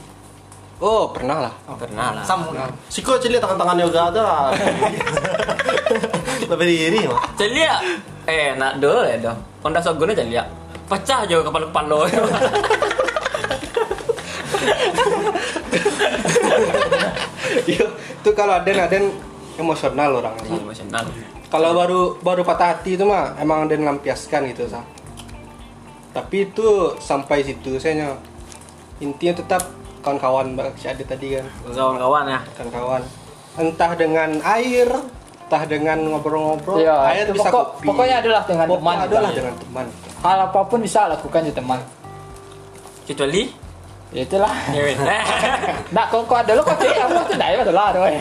Speaker 5: Oh, pernah lah.
Speaker 3: hati. Pernah lah.
Speaker 1: Sambung.
Speaker 6: Siko cilik tangan-tangan yoga ada. Lebih diri mah.
Speaker 3: Celia, eh nak dulu ya dong. Honda Shogun aja lihat. Pecah juga kepala kepala lo.
Speaker 5: Iya, itu kalau Aden Aden emosional orang.
Speaker 3: Emosional.
Speaker 5: Kalau baru baru patah hati itu mah emang Aden lampiaskan gitu sah. Tapi itu sampai situ saya nyo. Intinya tetap kawan-kawan Mbak si Adit tadi kan,
Speaker 3: Kawan-kawan ya.
Speaker 5: kawan-kawan. Entah dengan air, entah dengan ngobrol-ngobrol,
Speaker 2: Ya,
Speaker 5: air
Speaker 2: itu
Speaker 5: bisa
Speaker 2: pokok-
Speaker 5: kopi.
Speaker 2: pokoknya adalah dengan
Speaker 5: Pokoknya
Speaker 2: teman.
Speaker 5: Adalah
Speaker 2: Iya.
Speaker 5: dengan teman.
Speaker 2: Hal apapun bisa lakukan je teman
Speaker 3: Kecuali
Speaker 2: Ya itulah
Speaker 3: cewek.
Speaker 2: Nak kau kau ada lo kau cek Aku tu naik betul lah doi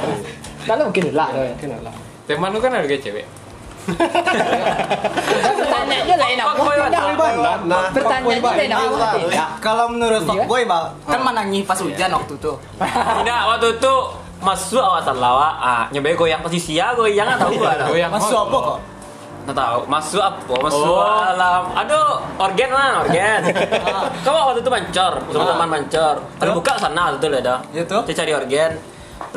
Speaker 2: Nak lo mungkin lah doi
Speaker 5: Mungkin lah.
Speaker 4: Teman lu kan harga cewek.
Speaker 2: Kan bertanya je lain nak
Speaker 3: Fuckboy
Speaker 2: mungkin dah
Speaker 6: Nah, nah.
Speaker 2: Bertanya je
Speaker 5: Fuckboy
Speaker 2: lain nak
Speaker 5: banyak
Speaker 2: mungkin dah
Speaker 1: Kalau menurut
Speaker 2: Iya.
Speaker 1: boy bal, kan menangis pas hujan waktu itu.
Speaker 3: Tidak waktu itu masuk awasan lawa. Ah, nyobain goyang posisi ya goyang nggak tahu gua.
Speaker 4: Goyang Oh.
Speaker 1: Masuk apa kok?
Speaker 3: Nggak tahu. Masuk apa? Masuk alam. Aduh, organ lah, organ. Kamu waktu itu mancor,
Speaker 4: Ah.
Speaker 3: teman-teman mancor. Terbuka sana waktu itu lah dah.
Speaker 1: Ya tuh.
Speaker 3: Dia cari organ.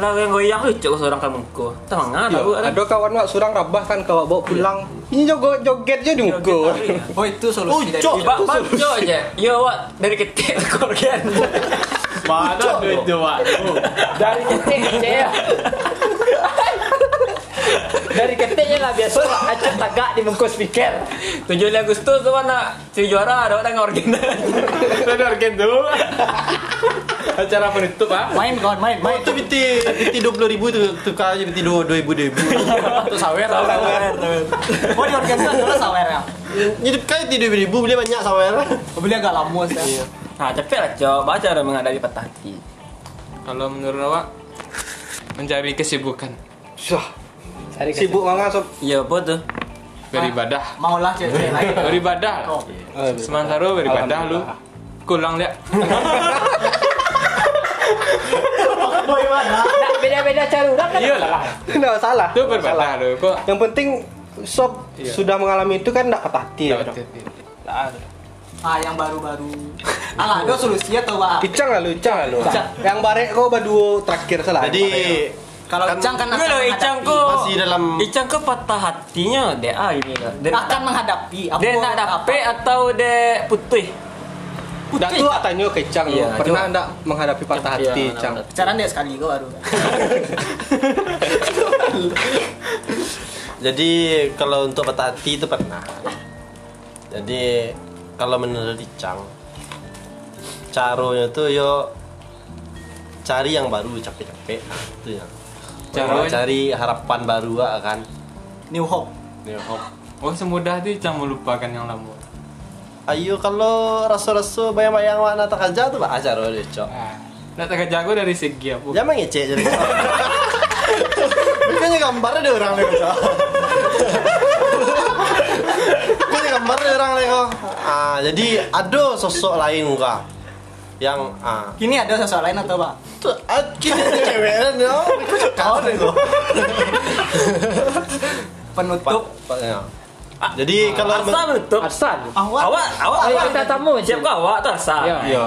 Speaker 3: Lah yang goyang lucu seorang kamu. Tahu nggak? Tahu.
Speaker 5: Iya, Ya, ada kawan mak surang rabah kan kau bawa pulang. Ini jogo joget je dungko.
Speaker 1: Oh itu solusi dari
Speaker 6: Ucok.
Speaker 3: Pak Panco aja. Yo, Wak, Ya, dari kecil ke organ.
Speaker 4: Mana duit coba?
Speaker 2: Dari ketik je ya Dari ketiknya lah biasa Acap tagak di bungkus pikir
Speaker 3: 17 Agustus tu mana si juara ada orang organ.
Speaker 4: Ada organ tuh. Acara penutup ah.
Speaker 1: Main kawan main main.
Speaker 6: Itu binti binti 20 ribu itu tukar aja binti 2 ribu ribu.
Speaker 1: Itu sawer. Oh di organisasi dulu sawer ya.
Speaker 6: Hidup kaya ti 2 ribu beli banyak sawer.
Speaker 1: Beli agak lama sih.
Speaker 3: Nah, capek lah, Cok. Baca orang menghadapi patah hati.
Speaker 4: Kalau menurut awak mencari kesibukan
Speaker 5: Syah,
Speaker 2: Dari ketik
Speaker 5: sibuk mangga sob.
Speaker 3: Iya, apa tuh?
Speaker 4: beribadah.
Speaker 1: Maulah cewek lagi.
Speaker 4: Ah,
Speaker 3: Iya.
Speaker 4: Beribadah.
Speaker 1: Oh.
Speaker 4: Sementara beribadah lu kurang lihat.
Speaker 1: Boy mana?
Speaker 2: Nak beda-beda cara orang kan
Speaker 4: Iyalah.
Speaker 5: Enggak salah.
Speaker 4: Itu beribadah lu kok.
Speaker 5: Yang penting sob sudah mengalami itu kan enggak patah hati ya. dong.
Speaker 1: Ah yang baru-baru. Alah, ada solusinya tuh Pak.
Speaker 5: Icang lah lu, icang lah lu. Yang barek kau baduo terakhir salah.
Speaker 6: Jadi
Speaker 1: Kalau
Speaker 6: Kan-
Speaker 1: Icang kan
Speaker 3: Gue loh, Iya, Icang
Speaker 1: menghadapi-
Speaker 3: kok.
Speaker 6: masih dalam-
Speaker 3: Icang kok patah hatinya, dia ah ini lah. Dia
Speaker 1: akan menghadapi apa?
Speaker 3: dia nak dapet atau dia putih?
Speaker 5: Dak tu tak tanya ke Icang lu,
Speaker 3: Iya,
Speaker 5: pernah
Speaker 3: coba.
Speaker 5: enggak menghadapi patah
Speaker 3: Iya,
Speaker 5: hati
Speaker 3: patah
Speaker 5: Icang?
Speaker 3: hati.
Speaker 1: Cara dia sekali kok baru.
Speaker 6: jadi kalau untuk patah hati itu pernah. Jadi kalau menurut Icang caranya tuh yo cari yang baru capek-capek ah, itu ya.
Speaker 4: Caranya?
Speaker 6: cari harapan baru ah, kan.
Speaker 1: New Hope.
Speaker 6: New hope.
Speaker 4: Oh semudah itu Icang melupakan yang lama.
Speaker 6: Ayo kalau rasa-rasa bayang-bayang warna tak aja tuh bah acara deh oh, cok.
Speaker 4: Ah. Nak tak jago dari segi apa?
Speaker 6: Jangan ngecek jadi. Bukannya gambarnya ada orang lagi kok. Bukannya gambarnya ada orang lagi kok. Ah, jadi ada sosok lain muka yang ah
Speaker 1: Kini ada sosok lain atau Pak?
Speaker 6: itu akhirnya cewekan ya. Kau deh kok.
Speaker 1: Penutup
Speaker 6: Pak, ya.
Speaker 8: Jadi
Speaker 5: Ah,
Speaker 8: kalau
Speaker 3: Arsa menutup.
Speaker 4: Arsan.
Speaker 3: Awak, awak,
Speaker 2: Ayo
Speaker 3: awak.
Speaker 2: kita tamu, Cik.
Speaker 3: Siap kau awak tu Arsa.
Speaker 2: Ya.
Speaker 5: Iya.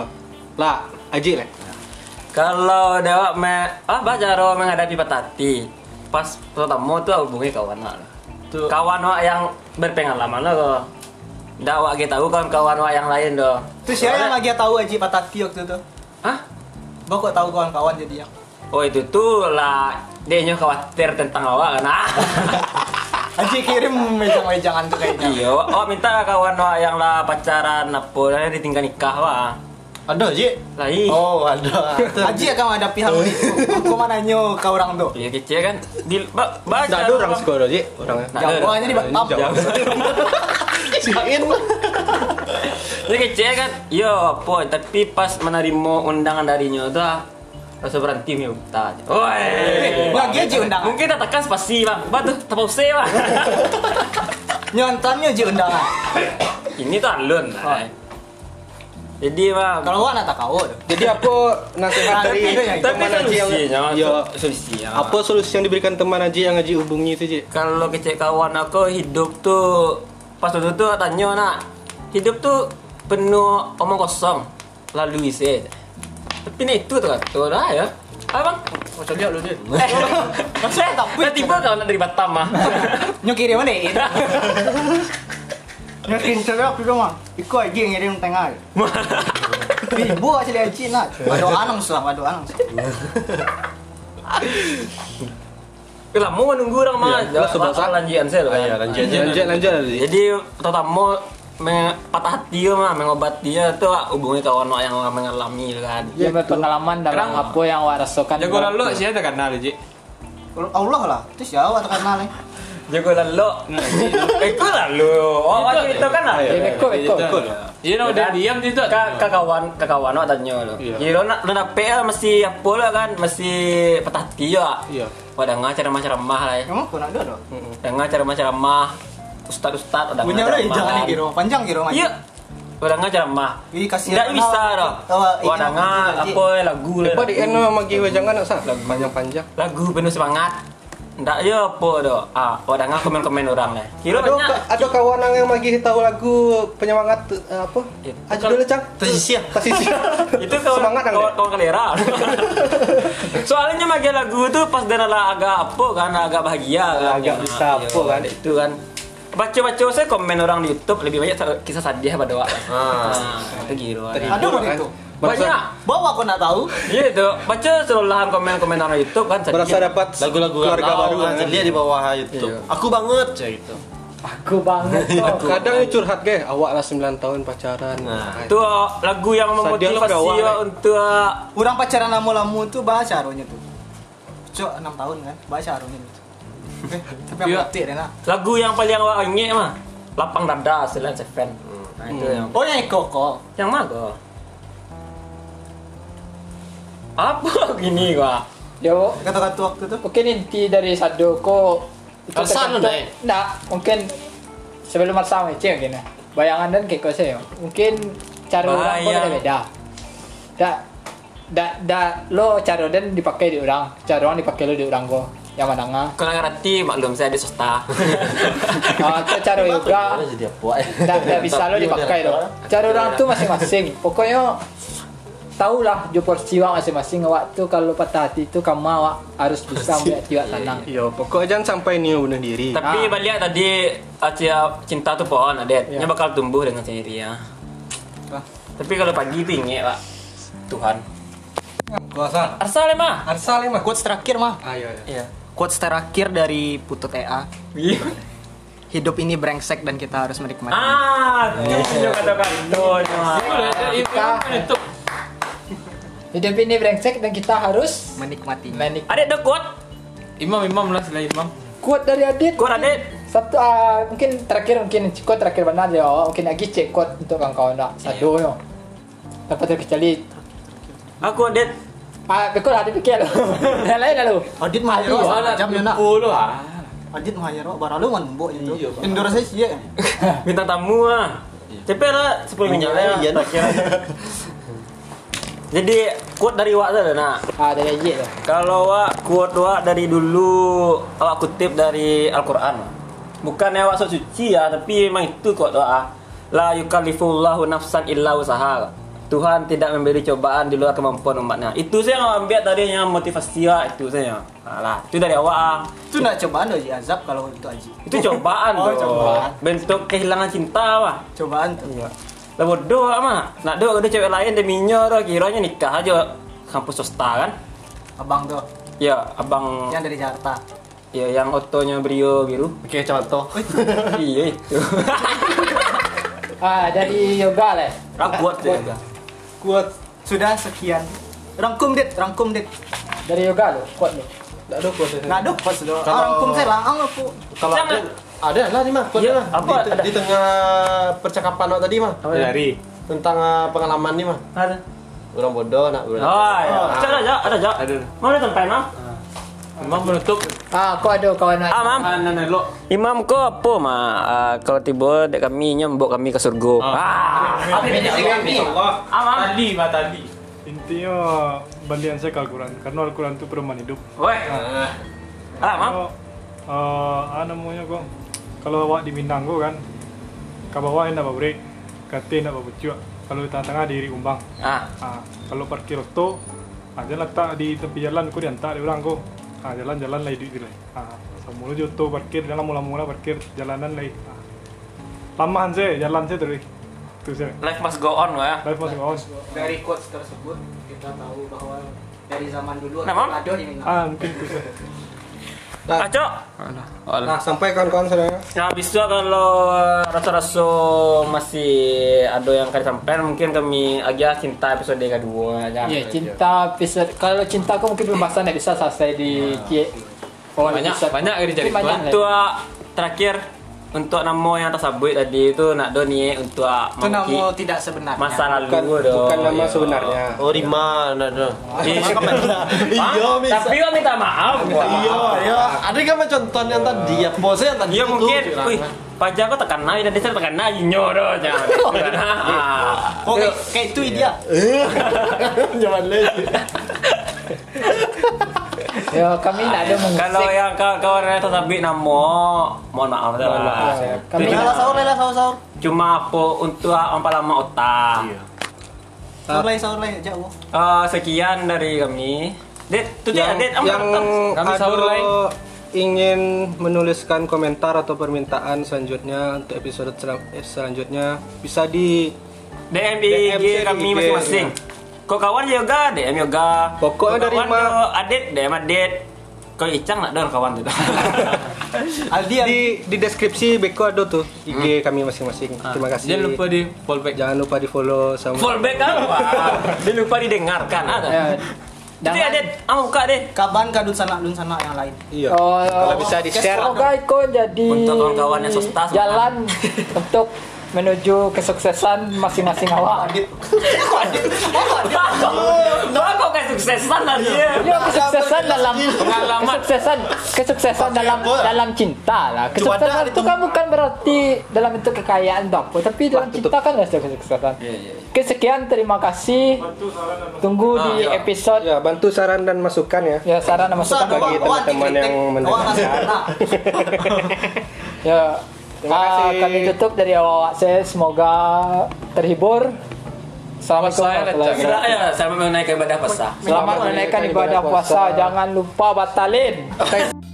Speaker 5: Lah, aji lah.
Speaker 3: Kalau dia me, apa cara menghadapi petati? Pas pertama tu hubungi kawan awak. lah. Kawan awak yang berpengalaman lah kau. Dah awak kita tahu kawan-kawan awak yang lain doh.
Speaker 1: Terus siapa yang lagi tahu Aji Pataki waktu itu?
Speaker 3: Hah?
Speaker 1: Bawa kok tahu kawan-kawan jadi yang.
Speaker 3: Oh itu tuh lah dia nyo khawatir tentang awak kan. Ah.
Speaker 1: Aji kirim mejang-mejangan tuh kayaknya.
Speaker 3: Iya, awak minta kawan awak yang lah pacaran apa lah ditinggal nikah wah.
Speaker 8: ada Ji.
Speaker 3: Lah ih.
Speaker 8: Oh, ada.
Speaker 1: Aji akan menghadapi hal itu. Kau mana nyo kau orang tuh?
Speaker 3: Iya kecil kan. Di ba, baca.
Speaker 5: Dah ada orang ya. sekolah aji orangnya.
Speaker 3: Nah,
Speaker 1: Jawa aja di Batam.
Speaker 3: Dia kecil kan. Yo, apa tapi pas menerima undangan dari nyo tu ah, rasa berhenti punya buta. Oi.
Speaker 1: Bagi
Speaker 3: Iya.
Speaker 1: aja undangan.
Speaker 3: Mungkin tak tekan spasi bang. Bah tu tapau se bang.
Speaker 1: Nyontonnya ah. aja undangan.
Speaker 3: Ini tu alun. lah. Jadi bang.
Speaker 1: Kalau gua anak tak kau tuh.
Speaker 5: Jadi apa nasihat dari
Speaker 1: Tapi-
Speaker 3: tapi
Speaker 5: teman aji yang
Speaker 3: solusinya,
Speaker 5: Iya.
Speaker 3: solusinya.
Speaker 5: apa solusi yang diberikan teman aji yang aji hubungi itu aji?
Speaker 3: kalau kecek kawan aku hidup tuh pas waktu itu aku tanya nak hidup tuh penuh omong kosong lalu isi tapi ni itu tuh tuh dah ya abang
Speaker 4: Macam lihat lu dia.
Speaker 3: eh maksudnya tapi tiba kau nak dari Batam mah
Speaker 1: Nyo kirim mana? Ini. Nyo kirim cerita waktu itu mah. Iku aji yang ngirim tengah. Ibu asli aji nak. Ada anang selam, ada anang. selam.
Speaker 3: Kalau mau nunggu orang mah
Speaker 5: Ya, lah, sebab
Speaker 3: Lah, lanjian saya tu kan.
Speaker 8: Ya, lanjut aja.
Speaker 5: Lanjut lanjut aji.
Speaker 3: jadi terutama me- patah hati tu mah mengobati dia tu ah, hubungi kawan awak yang mengalami tu kan
Speaker 2: Dia berpengalaman dalam
Speaker 4: Kerang.
Speaker 2: apa yang awak rasakan.
Speaker 4: Jago lalu saya tak kenal aji.
Speaker 1: Kalau Allah lah. Terus jawab tak kenal eh? nih.
Speaker 3: jago lalu itu lalu oh waktu itu kan lah
Speaker 2: Dia ikut, ikut.
Speaker 4: Iya, no, dia diam dia tak.
Speaker 3: Ka- kakawan kakawan awak tanya lo.
Speaker 4: Iya.
Speaker 3: Iya. lo nak lo nak PL mesti apa lah kan? Mesti patah hati ya.
Speaker 4: Iya.
Speaker 3: Wah dengar cara macam ramah lah. ya.
Speaker 1: Emang kau nak duduk?
Speaker 3: Dengar cara macam ramah. Ustaz ustaz ada.
Speaker 1: Punya udah jangan nih kiro. Panjang kiro mah.
Speaker 3: Iya. Wah dengar cara ramah.
Speaker 1: Ih, kasihan
Speaker 3: Tidak
Speaker 1: lah.
Speaker 3: bisa doh.
Speaker 1: Tawa, iya,
Speaker 3: Wah dengar
Speaker 1: iya.
Speaker 3: apa ya, lagu lah.
Speaker 5: Apa di end memang lagi wajangan nak kan sah? Panjang panjang.
Speaker 3: Lagu penuh semangat. Ndak ya apa doh. Ah, wah dengar komen-komen orang lah. Kira
Speaker 5: Ada
Speaker 3: banyak.
Speaker 5: ada kawan yang lagi tahu lagu penyemangat eh, apa?
Speaker 3: Itu
Speaker 5: Aji
Speaker 3: kalau-
Speaker 5: dulu cang.
Speaker 8: Tersisih.
Speaker 5: Tersisih.
Speaker 3: itu kawan
Speaker 5: semangat nang.
Speaker 3: kawan, kawan kelera soalnya makin lagu itu pas dan lah agak apa kan agak bahagia kan
Speaker 5: Agak bisa
Speaker 3: iya,
Speaker 5: apa kan.
Speaker 3: itu kan baca-baca saya komen orang di YouTube lebih banyak kisah sedih pada awak
Speaker 8: Ah.
Speaker 3: ah, itu gila kan.
Speaker 1: Ada mana itu?
Speaker 3: banyak
Speaker 1: Bawa kau nak tahu?
Speaker 3: iya itu baca seluruhan komen-komen orang YouTube kan sedih
Speaker 5: Berasa dapat
Speaker 8: Lagu-lagu
Speaker 5: keluarga
Speaker 8: galau
Speaker 5: baru
Speaker 8: kan,
Speaker 5: kan. Iya.
Speaker 8: terlihat di bawah YouTube. Aku banget ya gitu.
Speaker 2: Aku banget. toh.
Speaker 5: Kadang dia curhat ke, awak lah 9 tahun pacaran.
Speaker 8: Nah.
Speaker 5: Ay.
Speaker 3: itu ah, lagu yang
Speaker 5: Sedih lah
Speaker 3: memotivasi
Speaker 5: kawan,
Speaker 3: ah,
Speaker 5: eh.
Speaker 3: untuk ah,
Speaker 1: Orang pacaran lamu-lamu tuh bahasa aronya tuh. Cok 6 tahun kan, bahasa aronya tuh. Eh, tapi aku
Speaker 4: Iya.
Speaker 1: ngerti deh nah.
Speaker 3: lagu yang paling awak ingat mah lapang dada selain seven nah itu yang
Speaker 1: Oh yang Eko kok.
Speaker 3: Yang mana? Apa gini gua?
Speaker 2: Jawab.
Speaker 1: Kata-kata waktu tuh.
Speaker 2: Mungkin inti dari Sado ko
Speaker 8: Alasan
Speaker 2: tergantung-
Speaker 8: tu, Nay?
Speaker 2: Nak, mungkin sebelum masa macam mungkin lah. Bayangan dan kekau saya. Mungkin cara orang pun
Speaker 3: Bayang.
Speaker 2: ada beda. Dak dak dak lo cara dan dipakai di orang, cara orang dipakai lo di orang ko. Yang mana nga?
Speaker 3: Kalau ngerti maklum saya di swasta.
Speaker 2: Ah, tu cara yoga.
Speaker 8: Jadi apa?
Speaker 2: Dak dak bisa lo dipakai lo. Cara orang tu masing-masing. Pokoknya tahulah jo porsi awak masing-masing awak tu kalau patah hati tu kamu awak harus bisa melihat jiwa tenang.
Speaker 5: Yo, pokoknya jangan sampai ni bunuh diri.
Speaker 2: Ah.
Speaker 3: Tapi balik tadi Acia cinta tuh pohon adet,
Speaker 2: Ya.
Speaker 3: yeah. bakal tumbuh dengan sendiri ya.
Speaker 1: Ah.
Speaker 3: Tapi kalau pagi tuh ingat pak Tuhan.
Speaker 5: Gua asal.
Speaker 3: Arsal emang.
Speaker 5: Arsal emang.
Speaker 1: Quotes terakhir mah.
Speaker 5: Ayo ayo.
Speaker 3: Iya.
Speaker 1: Quotes terakhir dari Putut EA. Iya. Hidup ini brengsek dan kita harus menikmati.
Speaker 3: Ah, itu kata kantun.
Speaker 4: Kita menutup.
Speaker 2: Hidup ini brengsek dan kita harus
Speaker 1: Menikmati.
Speaker 2: menik.
Speaker 3: Adik ada kuat,
Speaker 4: Imam imam lah selain imam.
Speaker 2: Kuat dari Adit.
Speaker 3: kuat adik.
Speaker 2: Satu ah, mungkin terakhir mungkin kuat terakhir benar dia. awak Mungkin lagi cek kuat untuk kawan-kawan nak satu yo. Dapat terkecuali.
Speaker 3: Aku adik.
Speaker 2: Ah, betul ada pikir lo. Yang lain lalu.
Speaker 1: Audit mah ya,
Speaker 4: Soalnya
Speaker 1: jam ya nak.
Speaker 4: Puluh ah.
Speaker 1: Audit mah ya, bara lu menbok itu. Endorse saya sih ya.
Speaker 3: Bintang tamu ah. Cepet lah 10 minit lah.
Speaker 8: Iya,
Speaker 3: Jadi kuat dari wak tu nak.
Speaker 2: Ah, dari Adit tu.
Speaker 3: Kalau wak quote wak dari dulu awak kutip dari Al-Qur'an. bukannya awak sok suci ya tapi memang itu kok doa la yukallifullahu nafsan illa usaha Tuhan tidak memberi cobaan di luar kemampuan umatnya itu saya yang awak ambil tadi yang motivasi awak itu saya alah itu dari awak ah.
Speaker 1: Itu nak cobaan doji azab kalau itu aji.
Speaker 3: itu cobaan
Speaker 1: Oh,
Speaker 3: doh.
Speaker 1: cobaan.
Speaker 3: bentuk kehilangan cinta lah
Speaker 1: Cobaan tuh.
Speaker 3: lah bodoh lah mah nak doa ada cewek lain deminya doh kiranya nikah aja kampus swasta kan
Speaker 1: Abang tuh
Speaker 3: ya abang
Speaker 1: yang dari Jakarta.
Speaker 3: ya yang otonya brio biru
Speaker 6: Oke, contoh.
Speaker 3: iya itu
Speaker 2: Ah, dari yoga leh.
Speaker 3: rabuat ya
Speaker 1: Kuat sudah sekian. Rangkum dit, rangkum dit.
Speaker 2: Dari yoga lo, kuat lo.
Speaker 5: Nggak ada kuasa.
Speaker 1: Nah, aduh pas doa. Ah, rangkum saya langang aku.
Speaker 8: Kalau
Speaker 3: Jangan.
Speaker 8: ada, ada lah nih mah,
Speaker 3: Iya,
Speaker 8: kodnya lah.
Speaker 3: apa
Speaker 8: di,
Speaker 3: ada?
Speaker 8: di tengah percakapan lo tadi mah. Apa ya?
Speaker 4: Dari.
Speaker 8: Tentang eh, pengalaman nih mah.
Speaker 3: ada
Speaker 8: Orang bodoh nak berani.
Speaker 3: Oh, iya. Cak, ada jak, ada jak. Mau lihat tempat imam?
Speaker 4: Emang menutup.
Speaker 2: Ah, kau ada kawan
Speaker 3: Ah, mam.
Speaker 4: Ah, nah, nah, lo.
Speaker 3: Imam ko apa ma? Ah, kalau tiba dek kami nyombok kami ke surga. Ah. Ah, mam.
Speaker 4: Tadi, Pak, tadi.
Speaker 9: Intinya balian saya ke Al-Quran karena Al-Quran itu pedoman hidup.
Speaker 3: Weh. Ah, mam.
Speaker 9: Kalau eh, ah namanya kok kalau awak di Minang kok kan ke bawah hendak babrik, kate hendak babucuk. Kalau di tengah-tengah diri umbang.
Speaker 3: Ah.
Speaker 9: Ah, kalau parkir auto ah, jangan letak di tepi jalan kok diantar di orang kok. Ah, jalan-jalan lah duit gila. Ah, semula je auto parkir dalam mula-mula parkir jalanan lah. Ah. Lamahan saya jalan saya terus. Tu saya.
Speaker 3: Life must go on weh.
Speaker 9: Life masih on.
Speaker 1: Dari quotes tersebut kita tahu bahwa dari zaman dulu
Speaker 3: Nah, Mam.
Speaker 1: ada di Minang.
Speaker 9: Ah, mungkin tu saya.
Speaker 5: Nah.
Speaker 3: Ah, cok.
Speaker 5: Nah, sampai kawan-kawan saya
Speaker 3: Nah, bisa kalau rasa-rasa masih ada yang kali sampai mungkin kami agak cinta episode kedua aja.
Speaker 2: Ya, cinta episode kalau cinta kau mungkin pembahasan tidak bisa selesai di Kie. Oh,
Speaker 4: Banyak- banyak yang dicari
Speaker 2: Mungkin banyak, lah.
Speaker 3: Untuk ah, terakhir untuk nama yang tersebut tadi itu nak do ni untuk ah,
Speaker 1: Itu
Speaker 3: Mangki.
Speaker 1: nama tidak sebenarnya.
Speaker 3: masa lalu
Speaker 5: bukan,
Speaker 3: do.
Speaker 5: bukan nama
Speaker 3: Iya.
Speaker 5: sebenarnya.
Speaker 8: Oh, Rima, nak ada.
Speaker 6: Iya,
Speaker 3: Hah?
Speaker 8: Iya, mis.
Speaker 3: Tapi gua minta maaf. gua.
Speaker 8: Iya, iya. Ada kan macam contoh yang tadi, ya bosnya yang tadi.
Speaker 3: Iya
Speaker 8: itu.
Speaker 3: mungkin. Wih, pajak aku tekan naik dan dia tekan naik nyoro jangan. Nah.
Speaker 1: Oh, kayak, kayak itu dia.
Speaker 8: Jangan lagi.
Speaker 2: Ya, kami tidak ada mengusik.
Speaker 3: Kalau yang kawan-kawan yang tersebut nama, mohon maaf salah.
Speaker 2: kami
Speaker 1: Lelah sahur, lelah sahur, sahur.
Speaker 3: Cuma apa untuk empat lama otak.
Speaker 1: Sahur lagi, sahur lagi, jauh.
Speaker 3: Eh, sekian dari kami. Dit, tuh dia, Dit,
Speaker 5: yang, yang
Speaker 4: Kami
Speaker 5: ada
Speaker 4: sahur lain.
Speaker 5: ingin menuliskan komentar atau permintaan selanjutnya untuk episode selan- eh, selanjutnya bisa di
Speaker 3: DM di IG
Speaker 5: DM saya di
Speaker 3: kami
Speaker 5: IG.
Speaker 3: masing-masing. Kok kawan juga, DM juga.
Speaker 5: Pokoknya
Speaker 3: Kok
Speaker 5: dari
Speaker 3: kawan
Speaker 5: Ma-
Speaker 3: tu Adit, DM Adit. Kau Icang nak dong kawan tu.
Speaker 1: Aldi,
Speaker 5: di di deskripsi Beko ada tuh IG kami masing-masing. Terima kasih.
Speaker 4: Hmm. Ah, Jangan lupa di fallback.
Speaker 5: Jangan lupa di follow sama
Speaker 3: Fallback apa? ah. Dia lupa didengarkan ada.
Speaker 2: Ya,
Speaker 3: Jadi Adit, ah buka Adit.
Speaker 1: kaban kadun sanak dun sanak yang lain.
Speaker 5: Iya.
Speaker 2: Oh,
Speaker 5: Kalau bisa di-share.
Speaker 2: Semoga kau jadi
Speaker 3: Untuk kawan-kawan yang sosta, semangat.
Speaker 2: jalan untuk menuju kesuksesan masing-masing awak.
Speaker 3: Doa kok kayak suksesan lah dia.
Speaker 2: Ya, kesuksesan dalam
Speaker 3: Pengalaman.
Speaker 2: kesuksesan kesuksesan dalam dalam cinta lah. Kesuksesan itu kan bukan berarti dalam bentuk kekayaan atau apa, tapi dalam cinta kan ada
Speaker 3: Iya,
Speaker 2: kesuksesan. Oke, sekian terima kasih. Tunggu di
Speaker 3: iya.
Speaker 2: episode
Speaker 5: Ya, bantu saran dan masukan ya.
Speaker 2: ya saran dan masukan
Speaker 1: Usah
Speaker 5: bagi
Speaker 1: doa, doa
Speaker 5: teman-teman yang
Speaker 1: dikritik. Doa
Speaker 5: mendengar.
Speaker 1: masih anak.
Speaker 2: Ya.
Speaker 5: Terima
Speaker 2: Ah,
Speaker 5: kasih.
Speaker 2: kami tutup dari awak saya semoga terhibur. Assalamualaikum
Speaker 4: Puasa ya,
Speaker 2: warahmatullahi
Speaker 4: Cak.
Speaker 2: wabarakatuh.
Speaker 3: Gila ya, sampai menaikkan ibadah puasa.
Speaker 2: Selamat menunaikan ibadah puasa, jangan lupa batalin.